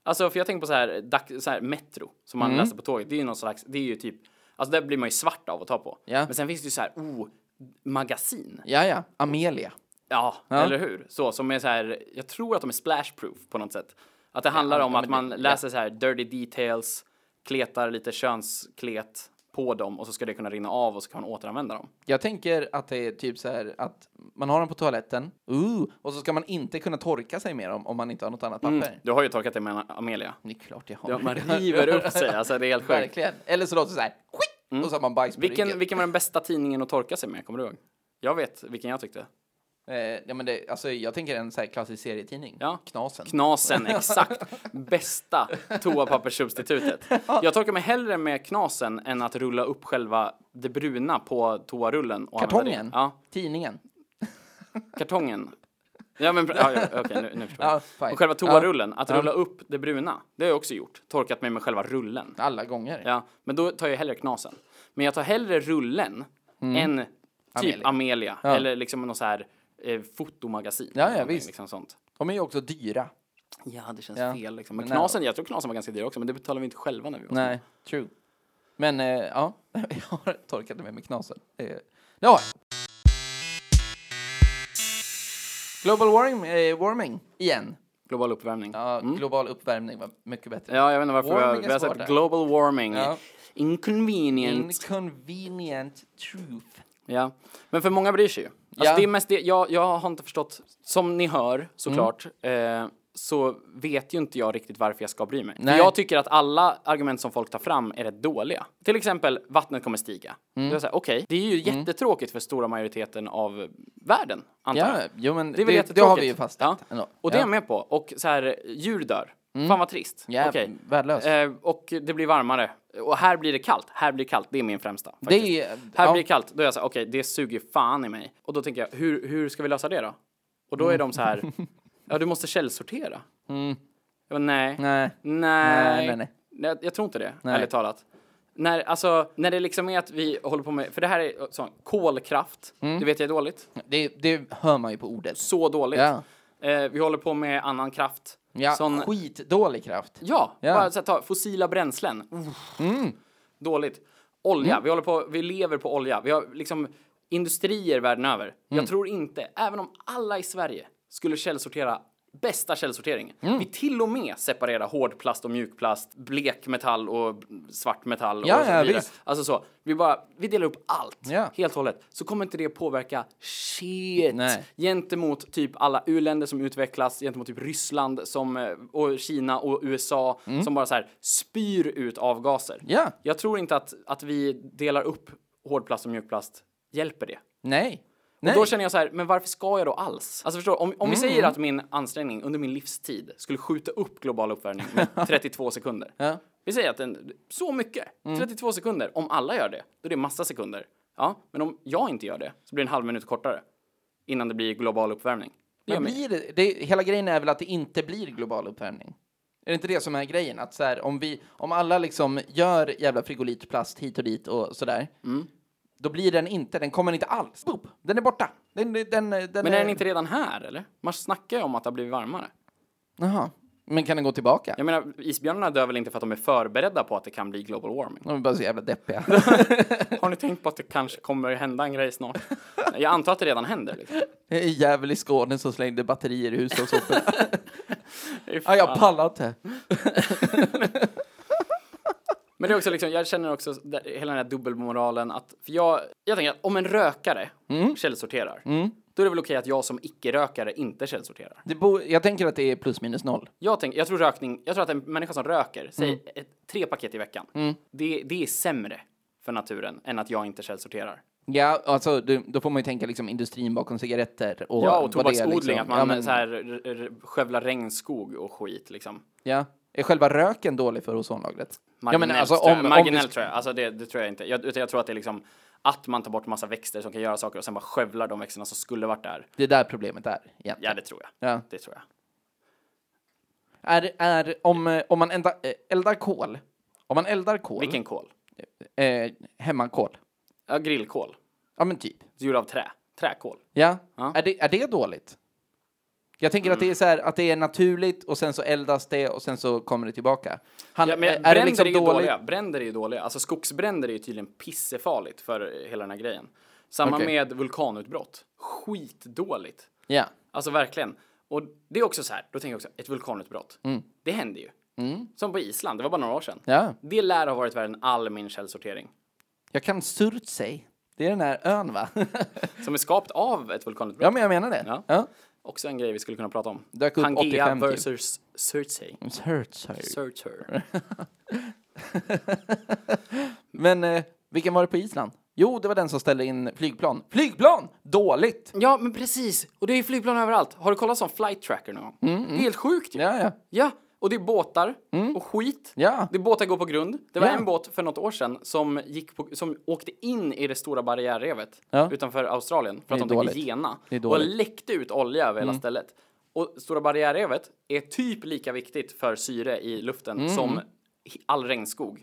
Speaker 1: Alltså för jag tänker på så här, dags- så här Metro som man läser på tåget. Det är ju någon slags, det är ju typ, alltså där blir man ju svart av att ta på.
Speaker 2: Ja.
Speaker 1: Men sen finns det ju så här, oh, magasin.
Speaker 2: Ja, ja. Amelia.
Speaker 1: Ja,
Speaker 2: Ja.
Speaker 1: eller hur? Så, som är så här, jag tror att de är splashproof på något sätt. Att det handlar om
Speaker 2: ja,
Speaker 1: att
Speaker 2: men
Speaker 1: man
Speaker 2: det-
Speaker 1: läser så här dirty details, kletar lite könsklet på dem och så ska det kunna rinna av och så kan man återanvända dem.
Speaker 2: Jag tänker att det är typ så här att man har dem på toaletten, ooh, och så ska man inte kunna torka sig med dem om man inte har något annat papper.
Speaker 1: Du har ju torkat det med Amelia.
Speaker 2: Det är klart jag har.
Speaker 1: Mm. Ja, man river upp sig, alltså det är helt sjukt.
Speaker 2: Verkligen. Eller så låter det så här, skit, och så har man bajs på
Speaker 1: Mm. Vilken,
Speaker 2: ryggen.
Speaker 1: vilken var den bästa tidningen att torka sig med, kommer du ihåg? Jag vet vilken jag tyckte.
Speaker 2: Eh, ja, men det, alltså, jag tänker en så här klassisk serietidning.
Speaker 1: Ja.
Speaker 2: Knasen.
Speaker 1: Knasen, exakt. Bästa toapapperssubstitutet. Jag torkar mig hellre med knasen än att rulla upp själva det bruna på toarullen. Och använda det.
Speaker 2: Kartongen.
Speaker 1: Ja,
Speaker 2: Tidningen.
Speaker 1: kartongen. Ja, men ja, ja, okej, nu, nu förstår
Speaker 2: Ja,
Speaker 1: jag.
Speaker 2: fine.
Speaker 1: Och själva toarullen, att
Speaker 2: Ja.
Speaker 1: rulla upp det bruna, det har jag också gjort. Torkat mig med själva rullen.
Speaker 2: Alla gånger.
Speaker 1: Ja, men då tar jag hellre knasen. Men jag tar hellre rullen än typ Amelia,
Speaker 2: Mm. Amelia.
Speaker 1: eller liksom någon så här eh, fotomagasin.
Speaker 2: ja,
Speaker 1: eller någonting,
Speaker 2: visst.
Speaker 1: Liksom sånt.
Speaker 2: De är ju också dyra.
Speaker 1: Ja, det känns
Speaker 2: Ja.
Speaker 1: fel liksom. Men
Speaker 2: Men
Speaker 1: knasen, jag tror knasen var ganska dyr också, men det betalade vi inte själva när vi var små.
Speaker 2: Nej, true. Men eh, ja, jag har torkat mig med knasen. Eh, det har jag. Global warming, eh, warming igen.
Speaker 1: Global uppvärmning. Ja.
Speaker 2: Ja, Global uppvärmning var mycket bättre.
Speaker 1: jag vet inte varför vi har,
Speaker 2: Warming
Speaker 1: vi
Speaker 2: är
Speaker 1: har
Speaker 2: svårt
Speaker 1: sett
Speaker 2: där.
Speaker 1: global warming.
Speaker 2: Ja.
Speaker 1: Inconvenient.
Speaker 2: Inconvenient truth.
Speaker 1: Ja, men för många bryr sig ju. Alltså
Speaker 2: Ja.
Speaker 1: det är mest det, jag, jag har inte förstått, som ni hör såklart, eh, så vet ju inte jag riktigt varför jag ska bry mig. För
Speaker 2: Mm. Nej.
Speaker 1: jag tycker att alla argument som folk tar fram är rätt dåliga. Till exempel, vattnet kommer stiga. Mm. Okej, det är ju jättetråkigt för stora majoriteten av världen, antar jag.
Speaker 2: Ja, jo, men
Speaker 1: Det är
Speaker 2: det,
Speaker 1: väl
Speaker 2: det,
Speaker 1: jättetråkigt.
Speaker 2: har vi ju fastställt.
Speaker 1: Ja.
Speaker 2: ändå.
Speaker 1: Och det är
Speaker 2: ja. Mm.
Speaker 1: jag med på. Och så här, djur dör. Fan vad trist.
Speaker 2: Ja,
Speaker 1: Okej.
Speaker 2: värdelöst.
Speaker 1: Eh, och det blir varmare. Och här blir det kallt. Här blir det kallt. Det är min främsta.
Speaker 2: det
Speaker 1: faktiskt.
Speaker 2: är,
Speaker 1: Här
Speaker 2: ja,
Speaker 1: blir det kallt, då är jag så här, okej det suger fan i mig. Och då tänker jag, hur, hur ska vi lösa det då? Och då är
Speaker 2: Mm.
Speaker 1: de så här, ja du måste källsortera. Jag bara, nej.
Speaker 2: Nej.
Speaker 1: Nej.
Speaker 2: Nej, nej, nej.
Speaker 1: Jag, jag tror inte det,
Speaker 2: Nej.
Speaker 1: ärligt talat. När, alltså, när det liksom är att vi håller på med, för det här är sån, kolkraft,
Speaker 2: Mm.
Speaker 1: det vet jag är dåligt.
Speaker 2: det, det hör man ju på ordet.
Speaker 1: Så dåligt.
Speaker 2: Ja.
Speaker 1: Eh, vi håller på med annan kraft.
Speaker 2: Ja,
Speaker 1: Sån-
Speaker 2: skitdålig kraft.
Speaker 1: Ja,
Speaker 2: Ja. Mm.
Speaker 1: Bara, så här, ta fossila bränslen. Uff. Dåligt. Olja, vi, håller på, vi lever på olja. Vi har liksom industrier världen över.
Speaker 2: Mm.
Speaker 1: Jag tror inte, även om alla i Sverige skulle källsortera bästa källsortering.
Speaker 2: Mm.
Speaker 1: Vi till och med separera hårdplast och mjukplast, blekmetall och svart metall
Speaker 2: Ja,
Speaker 1: och så
Speaker 2: ja,
Speaker 1: vidare.
Speaker 2: visst.
Speaker 1: Alltså så, vi bara, vi delar upp allt
Speaker 2: Ja.
Speaker 1: helt och hållet. Så kommer inte det påverka shit
Speaker 2: Nej.
Speaker 1: gentemot typ alla u-länder som utvecklas, gentemot typ Ryssland som, eh, och Kina och USA som bara så här spyr ut avgaser.
Speaker 2: Ja.
Speaker 1: Jag tror inte att, att vi delar upp hårdplast och mjukplast hjälper det.
Speaker 2: Nej. Nej.
Speaker 1: Och då känner jag så här, men varför ska jag då alls? Alltså förstår du, om, om vi
Speaker 2: Mm.
Speaker 1: säger att min ansträngning under min livstid skulle skjuta upp global uppvärmning med 32 sekunder.
Speaker 2: Ja. Mm.
Speaker 1: Vi säger att den, så mycket, 32 sekunder, om alla gör det, då är det massa sekunder. Ja, men om jag inte gör det så blir det en halv minut kortare innan det blir global uppvärmning. Det gör
Speaker 2: Men
Speaker 1: mig.
Speaker 2: blir det, det, hela grejen är väl att det inte blir global uppvärmning? Är det inte det som är grejen? Att så här, om, vi, om alla liksom gör jävla frigolitplast hit och dit och sådär,
Speaker 1: Mm.
Speaker 2: då blir den inte, den kommer inte alls. Boop, den är borta. Den, den, den,
Speaker 1: Men är den inte redan här eller? Man snackar ju om att det har blivit varmare.
Speaker 2: Jaha. Men kan den gå tillbaka?
Speaker 1: Jag menar, isbjörnarna dör väl inte för att de är förberedda på att det kan bli global warming?
Speaker 2: De är bara så jävla deppiga.
Speaker 1: Har ni tänkt på att det kanske kommer hända en grej snart? Jag antar att det redan händer. Liksom.
Speaker 2: Det är en jävel i Skåne som slängde batterier i hushållssoporna.
Speaker 1: Det är
Speaker 2: ja, jag
Speaker 1: fan-
Speaker 2: pallar inte.
Speaker 1: Men det är också liksom, jag känner också där, hela den här dubbelmoralen att, för jag, jag tänker att om en rökare
Speaker 2: Mm.
Speaker 1: källsorterar, då är det väl okej att jag som icke-rökare inte källsorterar.
Speaker 2: Det bo, jag tänker att det är plus minus noll.
Speaker 1: Jag, tänker, jag tror rökning, jag tror att en människa som röker, säg
Speaker 2: Mm.
Speaker 1: ett, tre paket i veckan, det, det är sämre för naturen än att jag inte källsorterar.
Speaker 2: Ja, alltså du, då får man ju tänka liksom industrin bakom cigaretter och...
Speaker 1: Ja,
Speaker 2: vad
Speaker 1: och
Speaker 2: det är,
Speaker 1: tobaksodling,
Speaker 2: liksom.
Speaker 1: att man
Speaker 2: Ja, men-
Speaker 1: så här, r- r- skövlar regnskog och skit liksom.
Speaker 2: Ja. Är själva röken dålig för ozonlagret? Ja, men
Speaker 1: Marginellt,
Speaker 2: alltså,
Speaker 1: tror,
Speaker 2: om-
Speaker 1: jag.
Speaker 2: om
Speaker 1: Marginellt
Speaker 2: vi-
Speaker 1: tror jag, alltså det, det tror jag inte. Jag, utan jag tror att det är liksom att man tar bort massa växter som kan göra saker och sen bara skövlar de växterna som skulle varit där.
Speaker 2: Det är där problemet är. egentligen.
Speaker 1: Ja, det tror jag.
Speaker 2: Ja.
Speaker 1: Det tror jag.
Speaker 2: Är, är, om, eh, om man elda, eh, eldar kol, om man eldar kol,
Speaker 1: Vilken kol?
Speaker 2: eh, hemmakol,
Speaker 1: Ja, grillkol.
Speaker 2: ja men typ,
Speaker 1: Gjord av trä. Träkol.
Speaker 2: ja,
Speaker 1: Ja.
Speaker 2: Är, det, är det dåligt? Jag tänker att det är så här, att det är naturligt och sen så eldas det och sen så kommer det tillbaka. Han,
Speaker 1: Ja, men
Speaker 2: är-
Speaker 1: bränder
Speaker 2: är det liksom
Speaker 1: är ju
Speaker 2: dåligt?
Speaker 1: dåliga. Bränder är ju dåliga. Alltså skogsbränder är ju tydligen pissefarligt för hela den här grejen. Samma
Speaker 2: Okej.
Speaker 1: med vulkanutbrott. Skitdåligt.
Speaker 2: Ja.
Speaker 1: Alltså verkligen. Och det är också så här, då tänker jag också, ett vulkanutbrott. Det händer ju. Som på Island, det var bara några år sedan.
Speaker 2: Mm. Ja.
Speaker 1: Det lär ha varit värre än all min källsortering.
Speaker 2: Jag kan Surtsey. Det är den här ön, va?
Speaker 1: Som är skapt av ett vulkanutbrott.
Speaker 2: ja, men jag menar det.
Speaker 1: Ja.
Speaker 2: Ja.
Speaker 1: Också en grej vi skulle kunna prata om.
Speaker 2: Dök upp 85 typ.
Speaker 1: versus Surtsey.
Speaker 2: Surtsey.
Speaker 1: Surtur.
Speaker 2: Men eh, vilken var det på Island? Jo, det var den som ställde in flygplan. Flygplan! Dåligt!
Speaker 1: Ja, men precis. Och det är ju flygplan överallt. Har du kollat som flight tracker någon gång? Det är helt sjukt ju.
Speaker 2: Mm, Ja, ja.
Speaker 1: Ja, och det är båtar och skit.
Speaker 2: Ja.
Speaker 1: Det är båtar går på grund. Det var
Speaker 2: Ja.
Speaker 1: en båt för något år sedan som, gick på, som åkte in i det stora barriärrevet
Speaker 2: Ja.
Speaker 1: utanför Australien för att
Speaker 2: Det är
Speaker 1: de
Speaker 2: dåligt.
Speaker 1: tänkte gena.
Speaker 2: Det är
Speaker 1: Och
Speaker 2: dåligt. Mm.
Speaker 1: läckte ut olja över hela stället. Och stora barriärrevet är typ lika viktigt för syre i luften
Speaker 2: Mm.
Speaker 1: som he- all regnskog.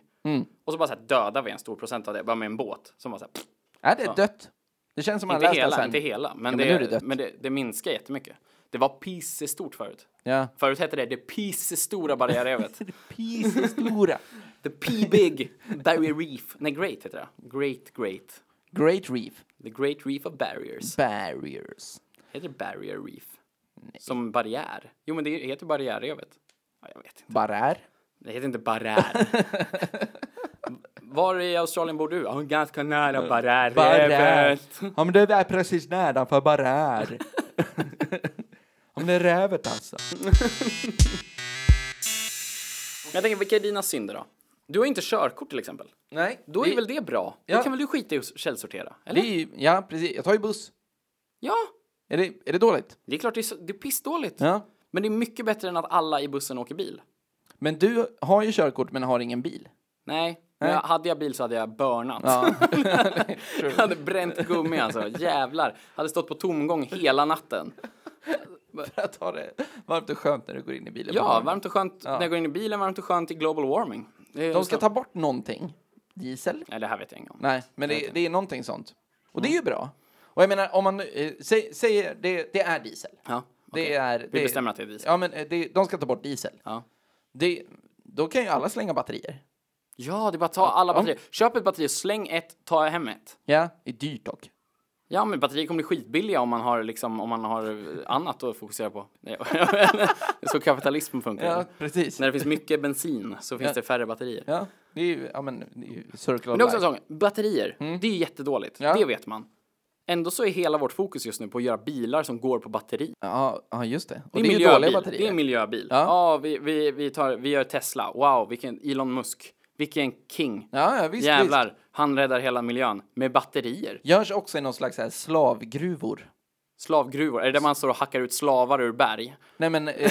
Speaker 1: Och så bara så här dödar vi en stor procent av det bara med en båt. Som bara så här, pff,
Speaker 2: Är Äh, det dött? Det känns som man
Speaker 1: inte,
Speaker 2: läst det
Speaker 1: hela,
Speaker 2: sen.
Speaker 1: inte hela, men,
Speaker 2: men nu
Speaker 1: det,
Speaker 2: är det dött.
Speaker 1: men det, det minskar jättemycket. Det var pissestort förut.
Speaker 2: Ja.
Speaker 1: Förut hette det det pissestora barriärrevet.
Speaker 2: Pis stora.
Speaker 1: The P-Big Barrier Reef. Nej, Great heter det. Great Great.
Speaker 2: Great Reef.
Speaker 1: The Great Reef of Barriers.
Speaker 2: Barriers.
Speaker 1: Heter det Barrier Reef? Som barriär? Jo, men det heter barriärrevet. Ja, jag vet inte.
Speaker 2: Barär.
Speaker 1: Det heter inte barriär. Var i Australien bor du? Ja, ganska
Speaker 2: Mm.
Speaker 1: nära barriärrevet.
Speaker 2: Ja, men det är precis nedanför barär. Om det är rävet alltså.
Speaker 1: Men jag tänker, vilka är dina synder då? Du har inte körkort till exempel.
Speaker 2: Nej,
Speaker 1: Då är väl det bra? Då
Speaker 2: Ja.
Speaker 1: kan väl du skita i att källsortera?
Speaker 2: det
Speaker 1: Eller?
Speaker 2: är ju, ja precis. Jag tar ju buss.
Speaker 1: Ja,
Speaker 2: Är det, är det dåligt?
Speaker 1: det är klart det är, så, det är pissdåligt.
Speaker 2: Ja.
Speaker 1: Men det är mycket bättre än att alla i bussen åker bil.
Speaker 2: Men du har ju körkort men har ingen bil.
Speaker 1: Nej, men jag, hade jag bil så hade jag börnat. jag hade bränt gummi alltså, jävlar. Hade stått på tomgång hela natten.
Speaker 2: För att ha det varmt och skönt när du går in i bilen.
Speaker 1: Ja, varmt och skönt när jag går in i bilen, varmt och skönt i global warming. Det är
Speaker 2: De ska
Speaker 1: så-
Speaker 2: ta bort någonting. Diesel?
Speaker 1: Nej, det här vet jag inte om.
Speaker 2: Nej, men det, det är någonting sånt. Och det är ju
Speaker 1: Mm.
Speaker 2: bra. Och jag menar, om man eh, sä, säger det, det är diesel.
Speaker 1: Ja, okej.
Speaker 2: Det är... Det,
Speaker 1: Vi bestämmer att det är diesel.
Speaker 2: Ja, men eh, det, de ska ta bort diesel.
Speaker 1: Ja.
Speaker 2: Det, då kan ju alla slänga batterier.
Speaker 1: Ja, det är bara att ta alla batterier. Köp ett batteri, släng ett, ta hem ett.
Speaker 2: Ja, det är dyrt dock.
Speaker 1: Ja, men batterier kommer bli skitbilliga om man har, liksom, om man har annat att fokusera på. Nej, det är så kapitalismen funkar.
Speaker 2: Ja, precis.
Speaker 1: När det finns mycket bensin så finns det färre batterier.
Speaker 2: Eh, Ja, det är ju, ja men, det är ju circle
Speaker 1: Men
Speaker 2: of
Speaker 1: det är också
Speaker 2: life.
Speaker 1: en sån, batterier, det är ju jättedåligt.
Speaker 2: Mm. Ja.
Speaker 1: Det vet man. Ändå så är hela vårt fokus just nu på att göra bilar som går på batteri.
Speaker 2: Ja, ja, just det.
Speaker 1: Det
Speaker 2: Och det
Speaker 1: är,
Speaker 2: är, ju
Speaker 1: miljöbil.
Speaker 2: dåliga batterier.
Speaker 1: Det är en miljöbil. Ja,
Speaker 2: Ja.
Speaker 1: vi, vi, vi, tar, vi gör Tesla. Wow, vilken Elon Musk. Vilken king.
Speaker 2: ja, ja, visst,
Speaker 1: Jävlar,
Speaker 2: visst.
Speaker 1: han räddar hela miljön med batterier.
Speaker 2: Görs också i någon slags så här slavgruvor.
Speaker 1: Slavgruvor, är det där man står och hackar ut slavar ur berg?
Speaker 2: Nej men, eh,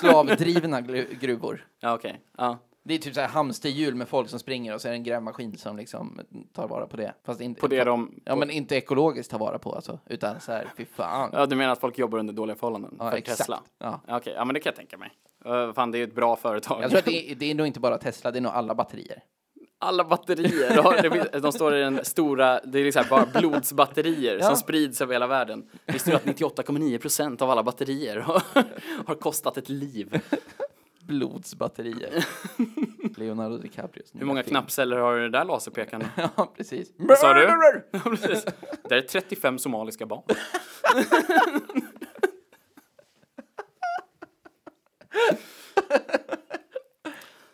Speaker 2: slavdrivna gru- gruvor.
Speaker 1: Ja, okej. Ja.
Speaker 2: Det är typ så här hamsterhjul med folk som springer och så är det en grävmaskin som liksom tar vara på det. Fast inte,
Speaker 1: På det de...
Speaker 2: Ja men inte ekologiskt tar vara på alltså, utan så här, fy fan.
Speaker 1: Ja, du menar att folk jobbar under dåliga förhållanden?
Speaker 2: Ja,
Speaker 1: för
Speaker 2: exakt.
Speaker 1: Tesla?
Speaker 2: Ja.
Speaker 1: Okej, ja men det kan jag tänka mig. Uh, fan, det är ju ett bra företag.
Speaker 2: Jag tror att det, är- det är nog inte bara Tesla, det är nog alla batterier.
Speaker 1: alla batterier. Och det, finns- de står i den stora, det är liksom bara blodsbatterier som sprids över hela världen. Visste du att 98,9% av alla batterier har, har kostat ett liv?
Speaker 2: Blodsbatterier. Leonardo DiCaprios
Speaker 1: Hur många knappceller har den där laserpekaren?
Speaker 2: Ja, precis.
Speaker 1: sa du? Ja, precis. Det är 35 somaliska barn.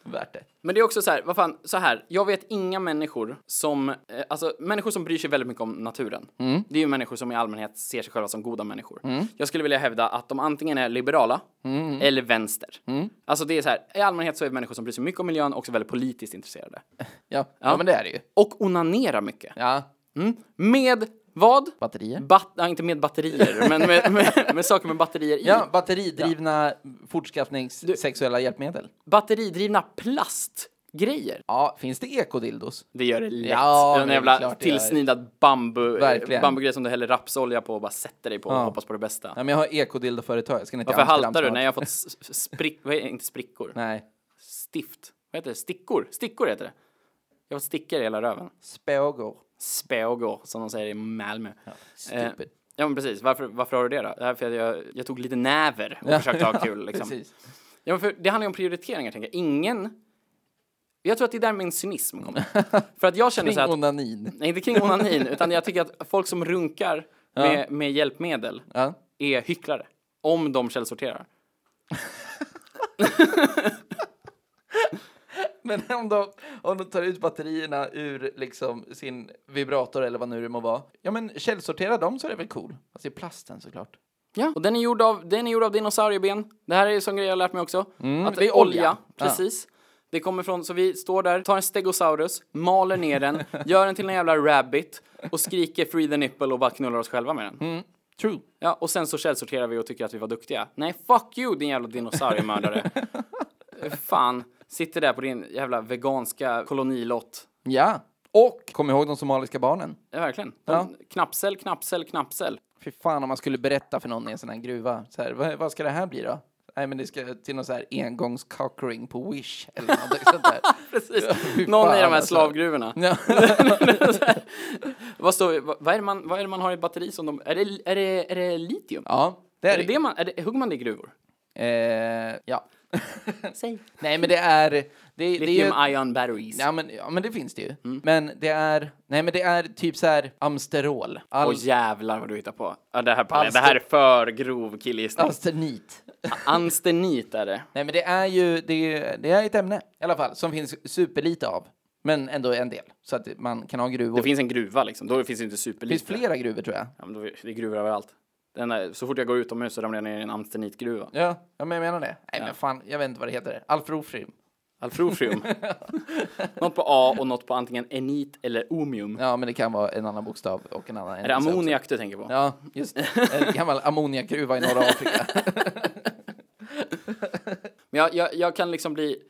Speaker 2: Värt det.
Speaker 1: Men det är också så här, vad fan, så här, jag vet inga människor som, eh, alltså människor som bryr sig väldigt mycket om naturen. Det är ju människor som i allmänhet ser sig själva som goda människor. Jag skulle vilja hävda att de antingen är liberala eller vänster. Alltså det är så här, i allmänhet så är människor som bryr sig mycket om miljön också väldigt politiskt intresserade.
Speaker 2: Ja, ja. men det är det ju.
Speaker 1: Och onanerar mycket.
Speaker 2: Ja,
Speaker 1: Mm. Med vad?
Speaker 2: batterier.
Speaker 1: Bat- ja, inte med batterier, men med, med, med saker med batterier i.
Speaker 2: Ja, batteridrivna fortskaffningssexuella hjälpmedel.
Speaker 1: Batteridrivna plastgrejer.
Speaker 2: Ja, finns det ekodildos?
Speaker 1: Det gör det lätt.
Speaker 2: Ja,
Speaker 1: en
Speaker 2: men
Speaker 1: jävla
Speaker 2: klart det gör.
Speaker 1: tillsnidad bambu,
Speaker 2: Verkligen.
Speaker 1: bambugrej som du häller rapsolja på och bara sätter dig på och hoppas på det bästa.
Speaker 2: Nej, men jag har ekodildoföretag. Jag ska ner till
Speaker 1: Varför
Speaker 2: Amsterdam
Speaker 1: haltar du?
Speaker 2: snart.
Speaker 1: Nej, jag har fått s- s- sprick... Vad heter det? Inte sprickor.
Speaker 2: Nej.
Speaker 1: Stift. Vad heter det? Stickor. Stickor heter det. Jag har fått stickor i hela röven.
Speaker 2: Spågor.
Speaker 1: Spågor, som de säger i Malmö. Ja, Eh,
Speaker 2: Stupid.
Speaker 1: ja men precis. Varför, varför har du det då? Det här är för att jag, jag tog lite näver och försökte ha kul. Liksom.
Speaker 2: Precis.
Speaker 1: Ja, men för det handlar ju om prioriteringar, tänker jag. Ingen... Jag tror att det är där min cynism kommer. för att jag känner så här
Speaker 2: Kring
Speaker 1: att
Speaker 2: onanin.
Speaker 1: Nej, inte kring onanin, utan jag tycker att folk som runkar med, med hjälpmedel
Speaker 2: Ja.
Speaker 1: är hycklare. Om de källsorterar.
Speaker 2: Men om de, om de tar ut batterierna ur liksom sin vibrator eller vad nu det må vara. Ja men källsortera dem så är det väl cool. Alltså i plasten såklart.
Speaker 1: Ja, och den är gjord av, den är gjord av dinosaurieben. Det här är ju sån grej jag har lärt mig också. att
Speaker 2: Mm, det är olja.
Speaker 1: Precis. Det kommer från, så vi står där, tar en stegosaurus, maler ner den, gör den till en jävla rabbit och skriker free the nipple och bara knullar oss själva med den.
Speaker 2: Mm. True.
Speaker 1: Ja, och sen så källsorterar vi och tycker att vi var duktiga. Nej, fuck you din jävla dinosauriemördare. Fan, sitter där på din jävla veganska kolonilott.
Speaker 2: Ja. Och kom ihåg de somaliska barnen.
Speaker 1: Ja, verkligen. De,
Speaker 2: Ja.
Speaker 1: Knapsel, knapsel, knapsel.
Speaker 2: Fy fan om man skulle berätta för någon i en sån här gruva. Så här, vad, vad ska det här bli då? Nej men det ska till någon så här engångscockring på Wish eller något sånt där.
Speaker 1: Precis.
Speaker 2: fy
Speaker 1: Någon
Speaker 2: fan,
Speaker 1: i de här
Speaker 2: alltså.
Speaker 1: slavgruvorna.
Speaker 2: Ja.
Speaker 1: Vad, står, vad, vad, är det man, vad är det man har i batteri som de... Är det, är det, är det litium?
Speaker 2: ja, det
Speaker 1: Är det det man... Är det, hugger man det i gruvor?
Speaker 2: Eh, ja.
Speaker 1: Säg.
Speaker 2: Nej men det är... Det, det är ju,
Speaker 1: Lithium ion batteries.
Speaker 2: ja, men, ja men det finns det ju.
Speaker 1: Mm.
Speaker 2: Men det är... Nej men det är typ så här Amsterol. Al-
Speaker 1: Åh jävlar vad du hittar på. Ja, det, här, Palle, det här
Speaker 2: Alltså-
Speaker 1: är för grov killgissning.
Speaker 2: Alsternit.
Speaker 1: Anstenit är det.
Speaker 2: Nej men det är ju... Det är, det är ett ämne i alla fall som finns superlite av. Men ändå en del. Så att man kan ha gruvor.
Speaker 1: Det finns en gruva liksom. Då finns det inte
Speaker 2: det finns
Speaker 1: superlite.
Speaker 2: flera gruvor tror jag.
Speaker 1: Ja, men då, det är gruvor överallt. Den där, så fort jag går utomhus så ramlar jag ner i en amstenitgruva.
Speaker 2: Ja, ja men jag menar det. Nej men fan, jag vet inte vad det heter. Alfrofrim.
Speaker 1: Alfrofrium. något på A och något på antingen enit eller omium.
Speaker 2: Ja men det kan vara en annan bokstav och en annan...
Speaker 1: Är det ammoniak du tänker på?
Speaker 2: Ja, just det. En gammal ammoniakgruva i norra Afrika.
Speaker 1: Men jag, jag, jag kan liksom bli...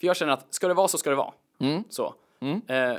Speaker 1: För jag känner att ska det vara så ska det vara. Så. Eh,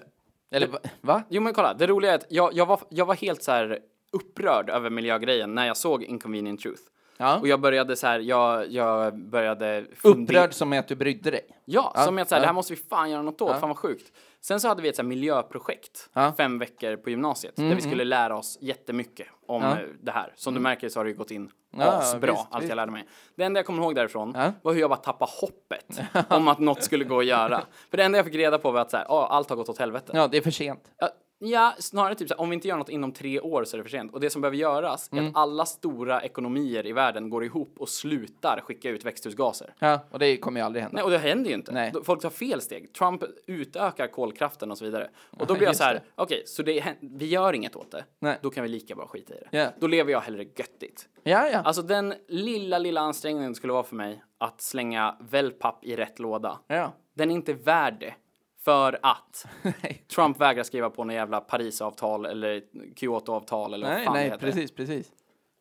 Speaker 2: Eller va- va?
Speaker 1: jo men kolla, det roliga är att jag, jag, var, jag var helt så här upprörd över miljögrejen när jag såg Inconvenient Truth.
Speaker 2: Ja.
Speaker 1: Och jag började så här, jag, jag började... fundera-
Speaker 2: Upprörd som är att du brydde dig.
Speaker 1: Ja, som att så här,
Speaker 2: ja.
Speaker 1: det här måste vi fan göra något åt, fan vad sjukt. Sen så hade vi ett så här miljöprojekt,
Speaker 2: Ja. Mm-hmm.
Speaker 1: fem veckor på gymnasiet, där vi skulle lära oss jättemycket om eh, det här. Som du märker så har det ju gått in
Speaker 2: Mm. Ja,
Speaker 1: asbra,
Speaker 2: visst,
Speaker 1: allt
Speaker 2: visst.
Speaker 1: jag lärde mig. Det enda jag kommer ihåg därifrån
Speaker 2: Ja.
Speaker 1: var hur jag bara tappade hoppet om att något skulle gå att göra. För det enda jag fick reda på var att så här, "Ah, allt har gått åt helvete.
Speaker 2: Ja, det är för sent.
Speaker 1: Ja, Ja, snarare typ så här, om vi inte gör något inom tre år så är det för sent. Och det som behöver göras är
Speaker 2: Mm.
Speaker 1: att alla stora ekonomier i världen går ihop och slutar skicka ut växthusgaser.
Speaker 2: Ja, och det kommer ju aldrig hända.
Speaker 1: Nej, och det händer ju inte.
Speaker 2: Nej.
Speaker 1: Då- Folk tar fel steg. Trump utökar kolkraften och så vidare. Och då blir jag
Speaker 2: just
Speaker 1: så här,
Speaker 2: det.
Speaker 1: okej, så det, hä- vi gör inget åt det.
Speaker 2: Nej.
Speaker 1: Då kan vi lika bra skita i det.
Speaker 2: Ja.
Speaker 1: Då lever jag hellre göttigt.
Speaker 2: Ja, ja.
Speaker 1: Alltså den lilla, lilla ansträngningen det skulle vara för mig att slänga wellpapp i rätt låda.
Speaker 2: ja.
Speaker 1: Den är inte värd det. För att
Speaker 2: Nej.
Speaker 1: Trump vägrar skriva på något jävla Parisavtal eller Kyotoavtal eller vad
Speaker 2: Nej,
Speaker 1: fan det
Speaker 2: nej,
Speaker 1: heter.
Speaker 2: precis, precis.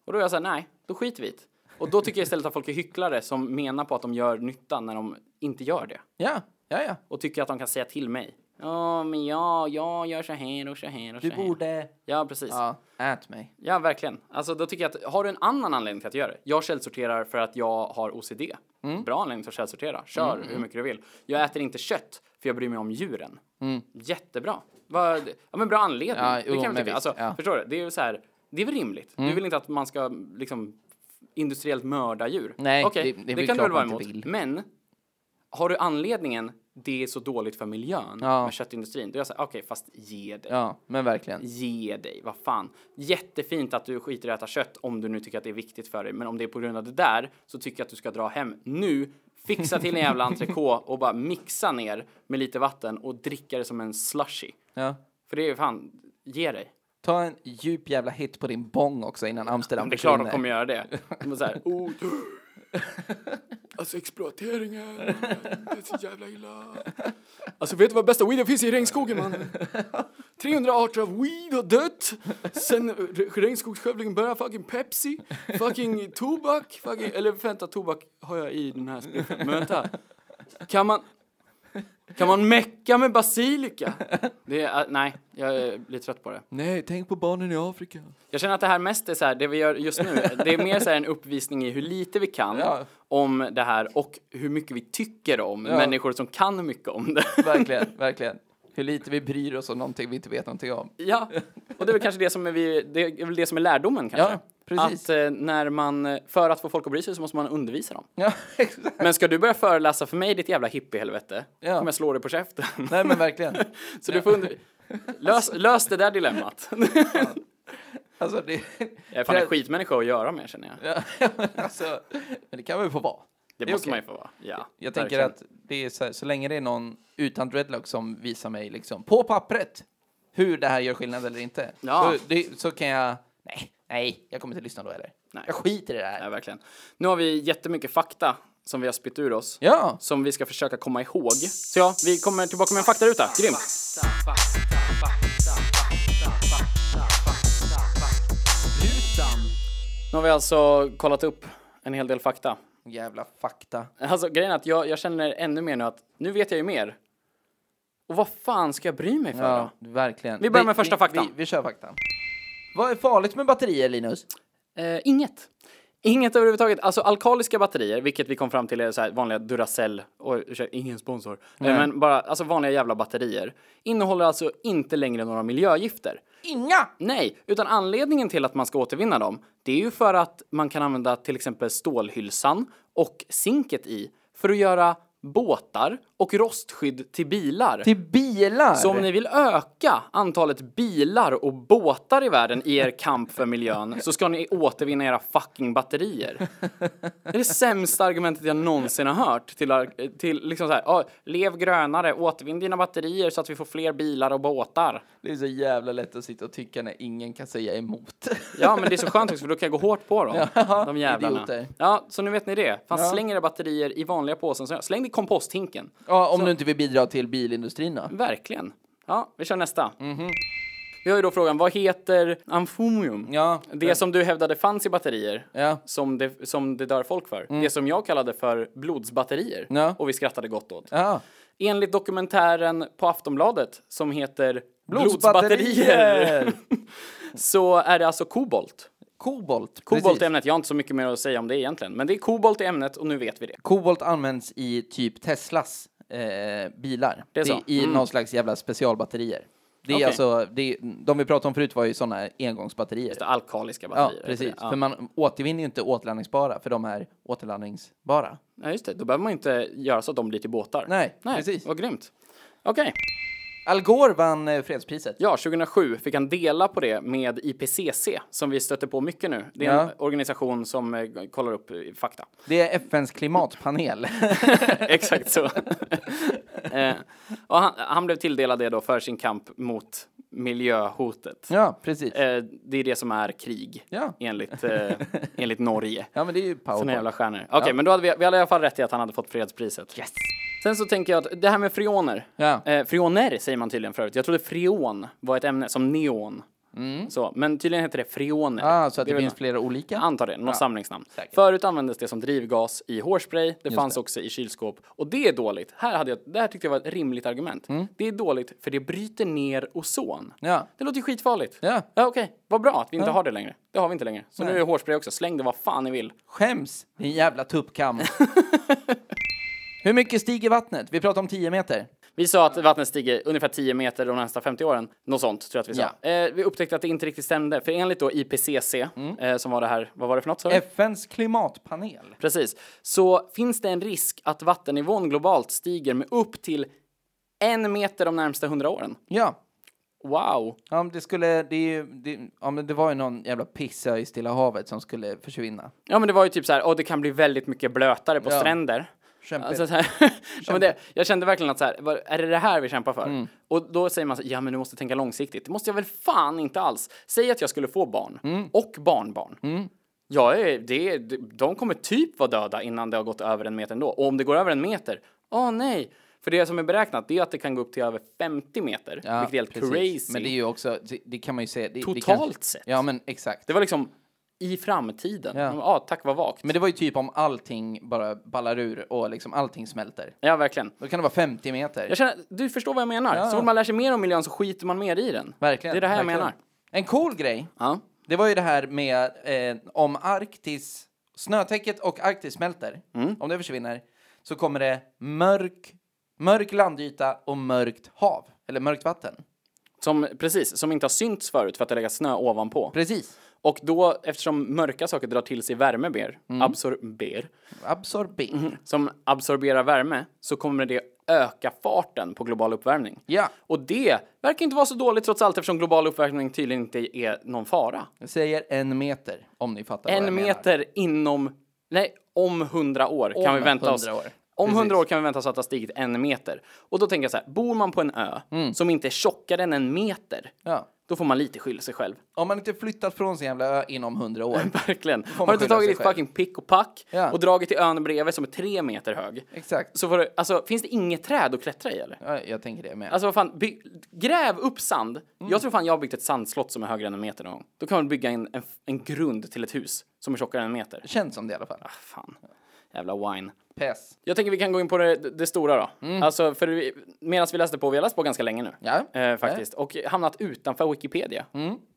Speaker 1: Och då är jag så här, nej, då skiter vi i det. Och då tycker jag istället att folk är hycklare som menar på att de gör nytta när de inte gör det
Speaker 2: Ja, ja, ja.
Speaker 1: och tycker att de kan säga till mig. Ja, men jag, jag gör så här och så här och så
Speaker 2: Du
Speaker 1: här.
Speaker 2: borde...
Speaker 1: Ja, precis. Ja.
Speaker 2: Ja, ät mig.
Speaker 1: verkligen. Alltså, då tycker jag att har du en annan anledning till att göra det? Jag källsorterar för att jag har OCD.
Speaker 2: Mm.
Speaker 1: Bra anledning till att källsortera. Kör hur mycket du vill. Jag äter inte kött för jag bryr mig om djuren. Jättebra. Vad- ja, men bra anledning.
Speaker 2: Mm. Ja,
Speaker 1: det
Speaker 2: jo,
Speaker 1: kan jag
Speaker 2: men
Speaker 1: tycka.
Speaker 2: visst,
Speaker 1: Alltså,
Speaker 2: ja. Mm.
Speaker 1: Förstår du? Det är ju så här, det är väl rimligt. Du vill inte att man ska liksom industriellt mörda djur.
Speaker 2: Nej,
Speaker 1: Okej,
Speaker 2: det- det är väl
Speaker 1: kan du
Speaker 2: klart
Speaker 1: väl vara
Speaker 2: man
Speaker 1: emot.
Speaker 2: inte vill.
Speaker 1: Men har du anledningen det är så dåligt för miljön
Speaker 2: Ja.
Speaker 1: med köttindustrin, då är jag såhär, okej, fast ge dig.
Speaker 2: Ja, men verkligen.
Speaker 1: Ge dig, vad fan. Jättefint att du skiter i att äta kött om du nu tycker att det är viktigt för dig, men om det är på grund av det där så tycker jag att du ska dra hem nu, fixa till en jävla entrecote och bara mixa ner med lite vatten och dricka det som en slushy.
Speaker 2: Ja.
Speaker 1: För det är ju fan, ge dig.
Speaker 2: Ta en djup jävla hit på din bong också innan Amsterdam
Speaker 1: Det är klart de
Speaker 2: försvinner.
Speaker 1: kommer göra det. De är så här, oh, alltså exploateringen, det är så jävla illa. Alltså vet du vad bästa weeden finns i regnskogen man? 300 arter av weed har dött. Sen eh, re- regnskogsskövlingen börjar fucking Pepsi, fucking tobak, fucking, eller vänta tobak har jag i den här spriten. Men vänta, kan man, kan man mecka med basilika? Det är, eh, nej, jag eh, blir trött på det.
Speaker 2: Nej, tänk på barnen i Afrika.
Speaker 1: Jag känner att det här mest är så här, det vi gör just nu, det är mer så här en uppvisning i hur lite vi kan
Speaker 2: Ja.
Speaker 1: om det här och hur mycket vi tycker om
Speaker 2: Ja.
Speaker 1: människor som kan mycket om det.
Speaker 2: Verkligen, verkligen. Hur lite vi bryr oss om någonting vi inte vet någonting om.
Speaker 1: ja, och det är väl kanske det som är, vi, det är, väl det som är lärdomen kanske.
Speaker 2: Ja, precis.
Speaker 1: Att eh, när man, eh, för att få folk att bry sig så måste man undervisa dem.
Speaker 2: Ja, exakt.
Speaker 1: Men ska du börja föreläsa för mig ditt jävla hippiehelvete,
Speaker 2: Ja.
Speaker 1: kommer jag slå dig på käften.
Speaker 2: Nej, men verkligen.
Speaker 1: så du får under... lös, lös det där dilemmat.
Speaker 2: Alltså, det...
Speaker 1: Jag är fan en skitmänniska att göra med känner jag.
Speaker 2: Ja, men alltså, men det kan väl få vara.
Speaker 1: Det
Speaker 2: är
Speaker 1: måste
Speaker 2: okej.
Speaker 1: man ju få vara. Ja,
Speaker 2: Jag tänker
Speaker 1: verkligen.
Speaker 2: att det är så, här, så länge det är någon utan dreadlock som visar mig liksom på pappret hur det här gör skillnad eller inte.
Speaker 1: Ja.
Speaker 2: Så, det, så kan jag, nej, nej, jag kommer inte lyssna då eller.
Speaker 1: Nej.
Speaker 2: Jag skiter i det här.
Speaker 1: Ja, verkligen. Nu har vi jättemycket fakta som vi har spytt ur oss.
Speaker 2: Ja,
Speaker 1: Som vi ska försöka komma ihåg. Så ja, vi kommer tillbaka med en faktaruta. Grymt! Nu har vi alltså kollat upp en hel del fakta.
Speaker 2: jävla fakta.
Speaker 1: Alltså grejen är att jag, jag känner ännu mer nu att nu vet jag ju mer. Och vad fan ska jag bry mig för
Speaker 2: Ja,
Speaker 1: då?
Speaker 2: verkligen.
Speaker 1: Vi börjar med första
Speaker 2: vi,
Speaker 1: faktan.
Speaker 2: Vi, vi kör faktan. Vad är farligt med batterier, Linus?
Speaker 1: Eh, inget. Inget överhuvudtaget. Alltså alkaliska batterier, vilket vi kom fram till är så här vanliga Duracell, och ingen sponsor, eh, men bara alltså vanliga jävla batterier, innehåller alltså inte längre några miljögifter.
Speaker 2: Inga!
Speaker 1: Nej, utan anledningen till att man ska återvinna dem, det är ju för att man kan använda till exempel stålhylsan och zinket i för att göra båtar och rostskydd till bilar.
Speaker 2: Till bilar!
Speaker 1: Så om ni vill öka antalet bilar och båtar i världen i er kamp för miljön så ska ni återvinna era fucking batterier. Det är det sämsta argumentet jag någonsin har hört till, ar- till liksom så här, "Ja, lev grönare, återvinn dina batterier så att vi får fler bilar och båtar.
Speaker 2: Det är så jävla lätt att sitta och tycka när ingen kan säga emot.
Speaker 1: Ja, men det är så skönt också för då kan jag gå hårt på dem.
Speaker 2: Ja,
Speaker 1: de jävlarna.
Speaker 2: idioter.
Speaker 1: Ja, så nu vet ni det. Fan, släng era batterier i vanliga påsen. Så- Släng det i komposthinken.
Speaker 2: ja, om du inte vill bidra till bilindustrin då?
Speaker 1: Verkligen. Ja, vi kör nästa. Vi har ju då frågan, vad heter amfomium?
Speaker 2: Mhm. Ja,
Speaker 1: Det som du hävdade fanns i batterier,
Speaker 2: Ja. Mm.
Speaker 1: som, det, som det dör folk för. Det som jag kallade för blodsbatterier.
Speaker 2: Ja.
Speaker 1: Och vi skrattade gott åt.
Speaker 2: Ja.
Speaker 1: Enligt dokumentären på Aftonbladet som heter
Speaker 2: Blodsbatterier!
Speaker 1: så är det alltså kobolt.
Speaker 2: Kobolt.
Speaker 1: Kobolt
Speaker 2: precis.
Speaker 1: i ämnet, jag har inte så mycket mer att säga om det egentligen. Men det är kobolt i ämnet och nu vet vi det.
Speaker 2: Kobolt används i typ Teslas eh, bilar.
Speaker 1: Det är så.
Speaker 2: I någon slags jävla specialbatterier. Det är
Speaker 1: Okej.
Speaker 2: alltså, det är, de vi pratade om förut var ju sådana engångsbatterier.
Speaker 1: Det är alkaliska
Speaker 2: Ja,
Speaker 1: batterier.
Speaker 2: precis.
Speaker 1: Ja.
Speaker 2: För man återvinner ju inte återladdningsbara, för de är återladdningsbara.
Speaker 1: Ja, just det. Då behöver man inte göra så att de blir till båtar.
Speaker 2: Nej,
Speaker 1: Nej
Speaker 2: precis.
Speaker 1: Vad grymt. Okej.
Speaker 2: Al Gore vann eh, fredspriset.
Speaker 1: Ja, 2007 fick han dela på det med IPCC, som vi stöter på mycket nu. Det är en
Speaker 2: Ja.
Speaker 1: organisation som eh, kollar upp eh, fakta.
Speaker 2: Det är FNs klimatpanel.
Speaker 1: Exakt så. eh, och han, han blev tilldelad det då för sin kamp mot miljöhotet.
Speaker 2: ja, precis.
Speaker 1: Eh, det är det som är krig,
Speaker 2: Ja.
Speaker 1: enligt, eh, enligt Norge.
Speaker 2: Ja, men det är ju
Speaker 1: Såna
Speaker 2: powerpoint.
Speaker 1: jävla stjärnor. Okej, men då hade vi, vi hade i alla fall rätt i att han hade fått fredspriset.
Speaker 2: Yes!
Speaker 1: Sen så tänker jag att det här med freoner.
Speaker 2: Ja.
Speaker 1: Eh, freoner säger man tydligen förut. Jag trodde freon var ett ämne, som neon. Så, men tydligen heter det freoner.
Speaker 2: Mm. Ah, så att det,
Speaker 1: är väl-
Speaker 2: finns flera olika?
Speaker 1: Jag antar det, något samlingsnamn.
Speaker 2: säkert.
Speaker 1: Förut användes det som drivgas i hårspray, det fanns också i kylskåp. Och det är dåligt. Här, hade jag, det här tyckte jag var ett rimligt argument.
Speaker 2: Mm.
Speaker 1: Det är dåligt för det bryter ner ozon.
Speaker 2: Ja.
Speaker 1: Det låter ju skitfarligt.
Speaker 2: Ja.
Speaker 1: ja okej. Vad bra att vi inte har det längre. Det har vi inte längre. Så nu är hårspray också, släng det vad fan ni vill.
Speaker 2: Skäms, din jävla tuppkam. Hur mycket stiger vattnet? Vi pratar om 10 meter.
Speaker 1: Vi sa att vattnet stiger ungefär 10 meter de nästa 50 åren. Något sånt tror jag att vi sa. Eh, vi upptäckte att det inte riktigt stämde. För enligt då IPCC, eh, som var det här, vad var det för något? sa du?
Speaker 2: FNs klimatpanel.
Speaker 1: Precis. Så finns det en risk att vattennivån globalt stiger med upp till en meter de närmsta hundra åren.
Speaker 2: Ja.
Speaker 1: Wow!
Speaker 2: Ja, men det skulle, det, är ju- det, ja, men det var ju någon jävla pissa i Stilla havet som skulle försvinna.
Speaker 1: Ja, men det var ju typ så här, åh, det kan bli väldigt mycket blötare på
Speaker 2: Ja.
Speaker 1: stränder.
Speaker 2: Kämpigt.
Speaker 1: Alltså, så här, ja, men det, jag kände verkligen att så här, vad- är det det här vi kämpar för?
Speaker 2: Mm.
Speaker 1: Och då säger man så här, ja men du måste tänka långsiktigt. Det måste jag väl fan inte alls. Säg att jag skulle få barn
Speaker 2: Mm.
Speaker 1: och barnbarn. Jag är, det, är- de kommer typ vara döda innan det har gått över en meter ändå. Och om det går över en meter, åh nej. För det som är beräknat det är att det kan gå upp till över 50 meter,
Speaker 2: Ja,
Speaker 1: vilket är helt
Speaker 2: precis.
Speaker 1: crazy.
Speaker 2: Men det är ju också, det, det kan man ju säga. Det, det kan,
Speaker 1: Totalt sett.
Speaker 2: Ja, men exakt.
Speaker 1: Det var liksom i framtiden.
Speaker 2: Ja.
Speaker 1: Ja, tack vad vagt.
Speaker 2: Men det var ju typ om allting bara ballar ur och liksom allting smälter.
Speaker 1: Ja, verkligen.
Speaker 2: Då kan det vara 50 meter.
Speaker 1: Jag känner, du förstår vad jag menar.
Speaker 2: Ja.
Speaker 1: Så fort man lär sig mer om miljön så skiter man mer i den.
Speaker 2: Verkligen.
Speaker 1: Det är det här
Speaker 2: verkligen.
Speaker 1: jag menar.
Speaker 2: En cool grej
Speaker 1: Ja.
Speaker 2: Det var ju det här med eh, om Arktis, snötäcket och Arktis smälter, om det försvinner, så kommer det mörk, mörk landyta och mörkt hav, eller mörkt vatten.
Speaker 1: Som, precis, som inte har synts förut för att det lägger snö ovanpå.
Speaker 2: Precis.
Speaker 1: Och då, eftersom mörka saker drar till sig värme
Speaker 2: Mm.
Speaker 1: mer, absorber,
Speaker 2: Absorber.
Speaker 1: Mm-hmm. som absorberar värme, så kommer det öka farten på global uppvärmning.
Speaker 2: Ja.
Speaker 1: Och det verkar inte vara så dåligt trots allt eftersom global uppvärmning tydligen inte är någon fara.
Speaker 2: Jag säger en meter, om ni fattar vad jag
Speaker 1: En meter inom, nej, om hundra år kan
Speaker 2: Om
Speaker 1: vi vänta oss.
Speaker 2: 100 år.
Speaker 1: Om
Speaker 2: Precis.
Speaker 1: hundra år kan vi vänta oss att det har stigit en meter. Och då tänker jag så här, bor man på en ö
Speaker 2: Mm.
Speaker 1: som inte är tjockare än en meter,
Speaker 2: menar. Ja.
Speaker 1: då får man lite skylla sig själv.
Speaker 2: Om man inte flyttat från sin jävla ö inom hundra år.
Speaker 1: Verkligen. Har
Speaker 2: man
Speaker 1: du inte
Speaker 2: skylla sig
Speaker 1: tagit ditt
Speaker 2: själv.
Speaker 1: fucking pick och pack
Speaker 2: Ja.
Speaker 1: och dragit till ön bredvid som är tre meter hög,
Speaker 2: Exakt.
Speaker 1: så får du, alltså, finns det inget träd att klättra i eller?
Speaker 2: Ja, jag tänker det med.
Speaker 1: Alltså vad fan, by- gräv upp sand.
Speaker 2: Mm.
Speaker 1: Jag tror fan jag har byggt ett sandslott som är högre än en meter någon gång. Då kan man bygga en, en, en grund till ett hus som är tjockare än en meter. Ah,
Speaker 2: Känns som det i alla fall.
Speaker 1: Fan, jävla wine.
Speaker 2: Pess.
Speaker 1: Jag tänker vi kan gå in på det, det stora då. Alltså, för vi, medan vi läste på, vi har läst på ganska länge nu.
Speaker 2: Mm. Ja. Mm.
Speaker 1: Eh, faktiskt. Och hamnat utanför Wikipedia.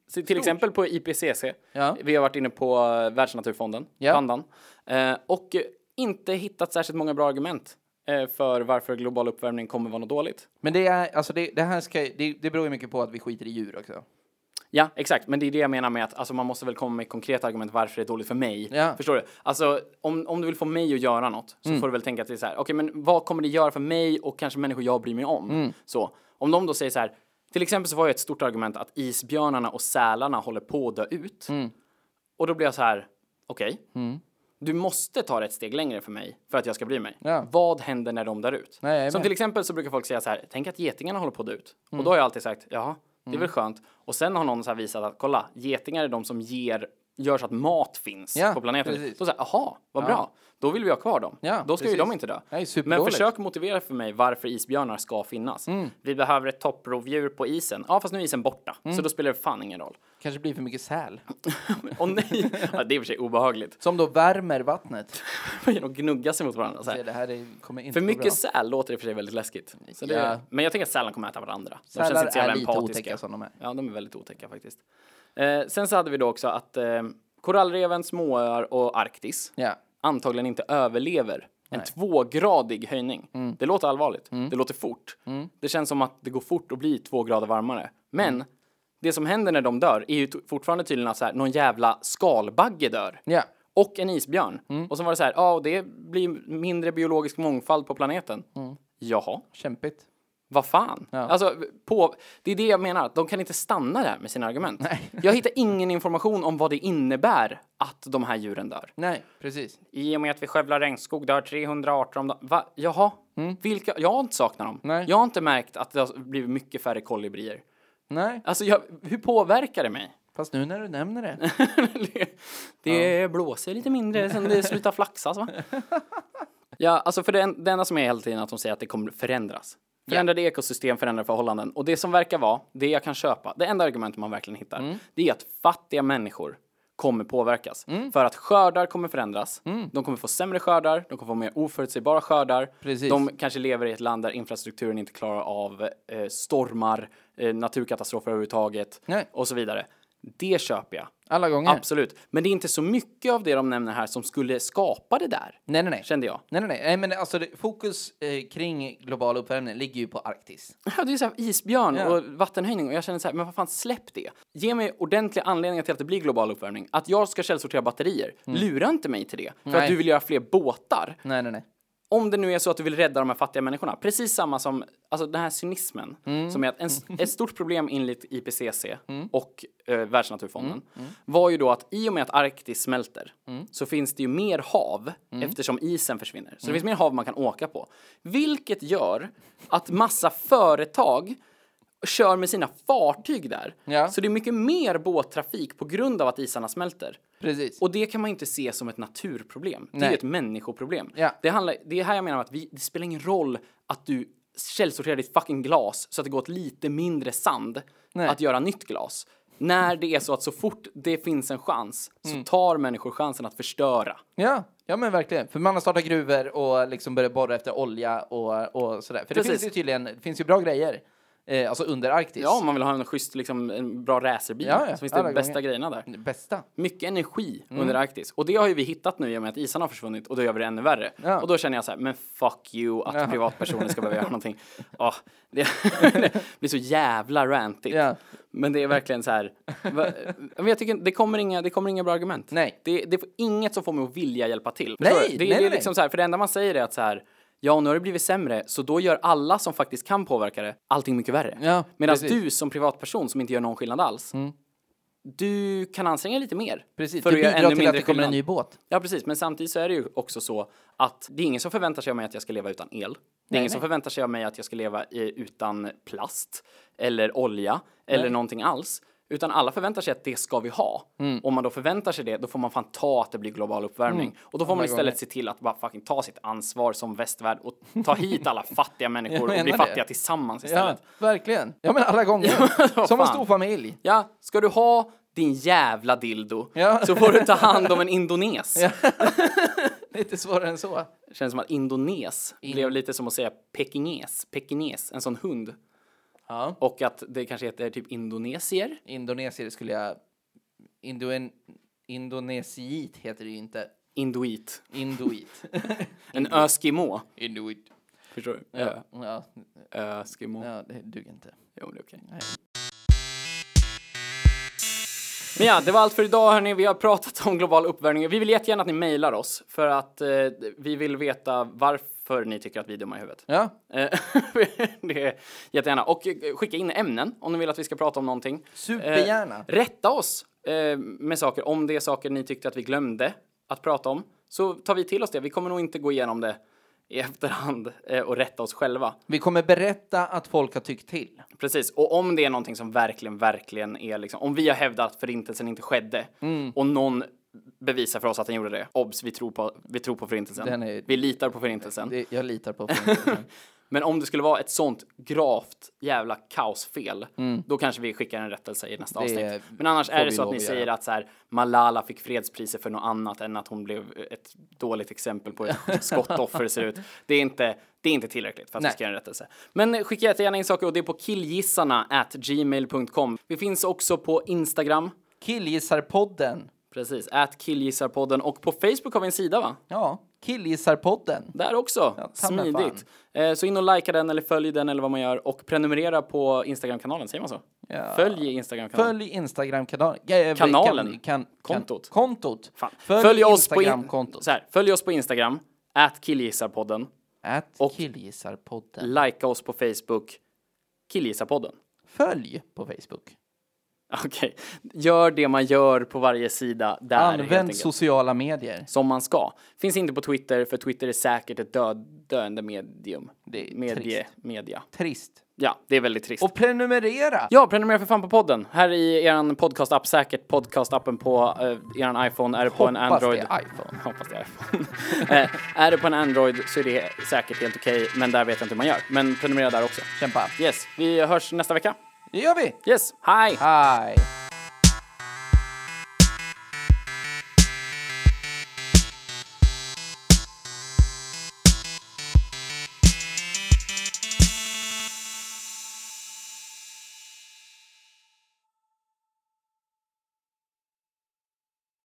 Speaker 1: Så till exempel på IPCC.
Speaker 2: Ja.
Speaker 1: Vi har varit inne på eh, Världsnaturfonden,
Speaker 2: Ja.
Speaker 1: Pandan. Eh, och eh, inte hittat särskilt många bra argument eh, för varför global uppvärmning kommer vara något dåligt.
Speaker 2: Men det är, alltså det, det här ska, det, det beror ju mycket på att vi skiter i djur också.
Speaker 1: Ja, exakt. Men det är det jag menar med att alltså, man måste väl komma med konkreta argument varför det är dåligt för mig.
Speaker 2: Ja.
Speaker 1: Förstår du? Alltså, om, om du vill få mig att göra något så får du väl tänka till så här, okej, men vad kommer det göra för mig och kanske människor jag bryr mig om? Så, om de då säger så här, till exempel så var ju ett stort argument att isbjörnarna och sälarna håller på att dö ut. Och då blir jag så här, okej,
Speaker 2: Mm.
Speaker 1: du måste ta det ett steg längre för mig för att jag ska bry mig.
Speaker 2: Ja.
Speaker 1: Vad händer när de dör ut?
Speaker 2: Nej, jag Mm. är
Speaker 1: Som
Speaker 2: med.
Speaker 1: till exempel så brukar folk säga så här, tänk att getingarna håller på att dö ut. Och då har jag alltid sagt, jaha, det
Speaker 2: Mm.
Speaker 1: är väl skönt. Och sen har någon så här visat att, kolla, getingar är de som ger, gör så att mat finns
Speaker 2: Ja,
Speaker 1: på planeten.
Speaker 2: precis.
Speaker 1: Då säger jag, jaha, vad bra. Då vill vi ha kvar dem.
Speaker 2: Ja,
Speaker 1: då ska ju
Speaker 2: precis.
Speaker 1: de inte dö.
Speaker 2: Nej,
Speaker 1: Men
Speaker 2: superdåligt. Mm.
Speaker 1: försök motivera för mig varför isbjörnar ska finnas. Vi behöver ett topprovdjur på isen. Ja, fast nu är isen borta,
Speaker 2: Mm.
Speaker 1: så då spelar det fan ingen roll.
Speaker 2: Kanske blir för mycket säl.
Speaker 1: Åh nej, ja, det är i och för sig obehagligt.
Speaker 2: Som då värmer vattnet.
Speaker 1: De gnuggar sig mot varandra. Så här.
Speaker 2: Se, Det här är, kommer inte
Speaker 1: För
Speaker 2: gå
Speaker 1: mycket
Speaker 2: bra.
Speaker 1: säl låter i och för sig väldigt läskigt. Så det
Speaker 2: Ja.
Speaker 1: Men jag tänker att sälarna kommer äta varandra. De
Speaker 2: Sälar
Speaker 1: känns inte så
Speaker 2: är
Speaker 1: jävla
Speaker 2: lite
Speaker 1: empatiska.
Speaker 2: otäcka som de är.
Speaker 1: Ja, de är väldigt otäcka faktiskt. Eh, sen så hade vi då också att eh, korallreven, småöar och Arktis
Speaker 2: Ja.
Speaker 1: antagligen inte överlever en tvågradig höjning.
Speaker 2: Mm.
Speaker 1: Det låter allvarligt. Det låter fort. Det känns som att det går fort att bli två grader varmare. Men
Speaker 2: Mm.
Speaker 1: det som händer när de dör är ju t- fortfarande tydligen att så här, någon jävla skalbagge dör
Speaker 2: Ja.
Speaker 1: och en isbjörn. Och så var det så här, ja, och det blir mindre biologisk mångfald på planeten. Jaha,
Speaker 2: Kämpigt.
Speaker 1: vad fan?
Speaker 2: Ja.
Speaker 1: Alltså, på, det är det jag menar, att de kan inte stanna där med sina argument.
Speaker 2: Nej.
Speaker 1: jag hittar ingen information om vad det innebär att de här djuren dör.
Speaker 2: Nej, precis.
Speaker 1: I och med att vi skövlar regnskog dör 300 arter om dagen. Va? Jaha, Mm. vilka? Jag har inte saknat dem.
Speaker 2: Nej.
Speaker 1: Jag har inte märkt att det har blivit mycket färre kolibrier.
Speaker 2: Nej,
Speaker 1: Alltså, jag, hur påverkar det mig?
Speaker 2: fast nu när du nämner det.
Speaker 1: det det blåser lite mindre sen det slutar flaxas va? Ja, alltså för det, en- det enda som är hela tiden att de säger att det kommer förändras. Förändrade ekosystem, förändrade förhållanden. Och det som verkar vara, det jag kan köpa, det enda argumentet man verkligen hittar,
Speaker 2: Mm.
Speaker 1: det är att fattiga människor kommer påverkas.
Speaker 2: Mm.
Speaker 1: För att skördar kommer förändras. De kommer få sämre skördar, de kommer få mer oförutsägbara skördar.
Speaker 2: Precis.
Speaker 1: De kanske lever i ett land där infrastrukturen inte klarar av eh, stormar, eh, naturkatastrofer överhuvudtaget
Speaker 2: Nej.
Speaker 1: och så vidare. Det köper jag.
Speaker 2: Alla gånger.
Speaker 1: Absolut. Men det är inte så mycket av det de nämner här som skulle skapa det där,
Speaker 2: Nej, nej, nej.
Speaker 1: kände jag.
Speaker 2: Nej, nej, nej. nej men alltså, det, fokus eh, kring global uppvärmning ligger ju på Arktis.
Speaker 1: Ja, det är så här isbjörn
Speaker 2: Ja.
Speaker 1: och vattenhöjning och jag känner så här, men vad fan, släpp det. Ge mig ordentliga anledningar till att det blir global uppvärmning. Att jag ska källsortera batterier, lura inte mig till det. För
Speaker 2: Mm. Nej.
Speaker 1: att du vill göra fler båtar.
Speaker 2: Nej, nej, nej.
Speaker 1: Om det nu är så att du vill rädda de här fattiga människorna. Precis samma som, alltså den här cynismen. Som är att en, ett stort problem enligt IPCC och eh, Världsnaturfonden var ju då att i och med att Arktis smälter så finns det ju mer hav eftersom isen försvinner. Så det finns mer hav man kan åka på. Vilket gör att massa företag kör med sina fartyg där.
Speaker 2: Ja.
Speaker 1: Så det är mycket mer båttrafik på grund av att isarna smälter.
Speaker 2: Precis.
Speaker 1: Och det kan man ju inte se som ett naturproblem. Det är
Speaker 2: Nej.
Speaker 1: ju ett människoproblem.
Speaker 2: Ja.
Speaker 1: Det, handlar, det är här jag menar att vi, det spelar ingen roll att du källsorterar ditt fucking glas så att det går åt lite mindre sand
Speaker 2: Nej.
Speaker 1: att göra nytt glas. När det är så att så fort det finns en chans
Speaker 2: Mm.
Speaker 1: så tar människor chansen att förstöra.
Speaker 2: Ja, ja men verkligen. För man har startat gruvor och liksom börjat borra efter olja och, och sådär. För det
Speaker 1: Precis.
Speaker 2: finns ju tydligen, det finns ju bra grejer. Eh, alltså under Arktis.
Speaker 1: Ja, om man vill ha en schysst, liksom, en bra racerbil
Speaker 2: Ja, ja.
Speaker 1: så finns det
Speaker 2: Alla
Speaker 1: bästa
Speaker 2: gånger.
Speaker 1: grejerna där.
Speaker 2: Bästa.
Speaker 1: Mycket energi under Arktis. Och det har ju vi hittat nu i och med att isarna har försvunnit och då gör vi det ännu värre.
Speaker 2: Ja.
Speaker 1: Och då känner jag så här, men fuck you att privatpersoner ska behöva göra någonting. Oh, det, det blir så jävla rantigt.
Speaker 2: Ja.
Speaker 1: Men det är verkligen så här, va, men jag tycker det kommer, inga, det kommer inga bra argument.
Speaker 2: Nej.
Speaker 1: Det, det är inget som får mig att vilja hjälpa till. Förstår
Speaker 2: Nej,
Speaker 1: du? det,
Speaker 2: nej,
Speaker 1: det
Speaker 2: nej,
Speaker 1: är liksom
Speaker 2: nej.
Speaker 1: så här, för det enda man säger är att så här, ja, nu har det blivit sämre, så då gör alla som faktiskt kan påverka det allting mycket värre.
Speaker 2: Ja,
Speaker 1: Medan
Speaker 2: precis. Mm.
Speaker 1: du som privatperson som inte gör någon skillnad alls, du kan anstränga dig lite mer.
Speaker 2: Precis,
Speaker 1: för
Speaker 2: det
Speaker 1: att göra ännu
Speaker 2: bidrar till
Speaker 1: mindre
Speaker 2: att det kommer
Speaker 1: skillnad.
Speaker 2: en ny båt.
Speaker 1: Ja, precis. Men samtidigt så är det ju också så att det är ingen som förväntar sig av mig att jag ska leva utan el. Det är ingen som förväntar sig av mig att jag ska leva eh, utan plast eller olja eller någonting alls. Utan alla förväntar sig att det ska vi ha.
Speaker 2: Mm.
Speaker 1: Om man då förväntar sig det, då får man fan ta att det blir global uppvärmning. Och då får man istället se till att bara fucking ta sitt ansvar som västvärld och ta hit alla fattiga människor och
Speaker 2: menar
Speaker 1: bli
Speaker 2: det.
Speaker 1: fattiga tillsammans
Speaker 2: Ja,
Speaker 1: istället.
Speaker 2: verkligen. Ja, men alla gånger.
Speaker 1: vad
Speaker 2: Som en
Speaker 1: fan.
Speaker 2: stor familj.
Speaker 1: Ja, ska du ha din jävla dildo
Speaker 2: Ja.
Speaker 1: så får du ta hand om en indones.
Speaker 2: Lite svårare än så.
Speaker 1: känns som att indones blev lite som att säga pekines, pekines, en sån hund.
Speaker 2: Ja.
Speaker 1: Och att det kanske heter typ indonesier.
Speaker 2: Indonesier skulle jag... Indoen... Indonesiit heter det ju inte.
Speaker 1: Induit.
Speaker 2: Induit.
Speaker 1: En öskimo.
Speaker 2: Induit.
Speaker 1: Förstår du? Ö-
Speaker 2: Ja, ja,
Speaker 1: Öskimo.
Speaker 2: ja, det duger inte.
Speaker 1: Jo, det är okej.
Speaker 2: Nej.
Speaker 1: Men ja, det var allt för idag hörni. Vi har pratat om global uppvärmning. Vi vill jättegärna att ni mejlar oss för att eh, vi vill veta varför ni tycker att vi är dumma i huvudet.
Speaker 2: Ja,
Speaker 1: Eh, det är jättegärna. Och eh, skicka in ämnen om ni vill att vi ska prata om någonting.
Speaker 2: Supergärna.
Speaker 1: Eh, rätta oss eh, med saker om det är saker ni tyckte att vi glömde att prata om. Så tar vi till oss det. Vi kommer nog inte gå igenom det i efterhand eh, och rätta oss själva.
Speaker 2: vi kommer berätta att folk har tyckt till.
Speaker 1: Precis, och om det är någonting som verkligen, verkligen är liksom, om vi har hävdat att förintelsen inte skedde
Speaker 2: Mm.
Speaker 1: och någon bevisar för oss att den gjorde det. Obs, vi tror på, vi tror på förintelsen.
Speaker 2: Den är-
Speaker 1: Vi litar på förintelsen.
Speaker 2: Det, jag litar på folk.
Speaker 1: Men om det skulle vara ett sånt gravt jävla kaosfel, då kanske vi skickar en rättelse i nästa
Speaker 2: Mm. Det
Speaker 1: avsnitt. Men annars är
Speaker 2: vi
Speaker 1: det så att
Speaker 2: lov
Speaker 1: ni
Speaker 2: att
Speaker 1: säger
Speaker 2: göra.
Speaker 1: att så här, Malala fick fredspriser för något annat än att hon blev ett dåligt exempel på hur skottoffer ser ut. Det är inte, det är inte tillräckligt för att
Speaker 2: Nej.
Speaker 1: vi ska göra en rättelse. Men skicka jättegärna in saker och det är på killgissarna at gmail.com. Vi finns också på Instagram,
Speaker 2: Killgissarpodden.
Speaker 1: precis, at killgissarpodden och på Facebook har vi en sida va?
Speaker 2: Ja, Killgissarpodden.
Speaker 1: Där också.
Speaker 2: ta mig
Speaker 1: Smidigt. Eh, så in och likea den eller följ den eller vad man gör och prenumerera på Instagram-kanalen, säger man så?
Speaker 2: Ja.
Speaker 1: Följ Instagram-kanalen.
Speaker 2: Följ Instagram-kanalen. Äh,
Speaker 1: Kanalen.
Speaker 2: Kan, kan,
Speaker 1: Kontot.
Speaker 2: Kan, kontot.
Speaker 1: Fan.
Speaker 2: Följ,
Speaker 1: oss på
Speaker 2: Instagram-kontot.
Speaker 1: så här, följ oss på Instagram, at killgissarpodden,
Speaker 2: Att
Speaker 1: Och-
Speaker 2: Killgissarpodden.
Speaker 1: likea oss på Facebook, killgissarpodden.
Speaker 2: Följ på Facebook.
Speaker 1: Okej, gör det man gör på varje sida där helt
Speaker 2: Använd
Speaker 1: enkelt.
Speaker 2: sociala medier.
Speaker 1: som man ska. Finns inte på Twitter, för Twitter är säkert ett död, döende medium.
Speaker 2: Det är
Speaker 1: Medie,
Speaker 2: trist.
Speaker 1: media.
Speaker 2: Trist.
Speaker 1: Ja, det är väldigt trist.
Speaker 2: Och prenumerera!
Speaker 1: Ja, prenumerera för fan på podden. Här i er podcastapp, säkert podcastappen på eh, er iPhone. Är det på en
Speaker 2: Hoppas
Speaker 1: Android?
Speaker 2: det är iPhone.
Speaker 1: Hoppas det är iPhone. eh, är det på en Android så är det säkert helt okej, men där vet jag inte hur man gör. Men prenumerera där också.
Speaker 2: Kämpa.
Speaker 1: Yes, vi hörs nästa vecka.
Speaker 2: Det gör vi!
Speaker 1: Yes, hej!
Speaker 2: Hej!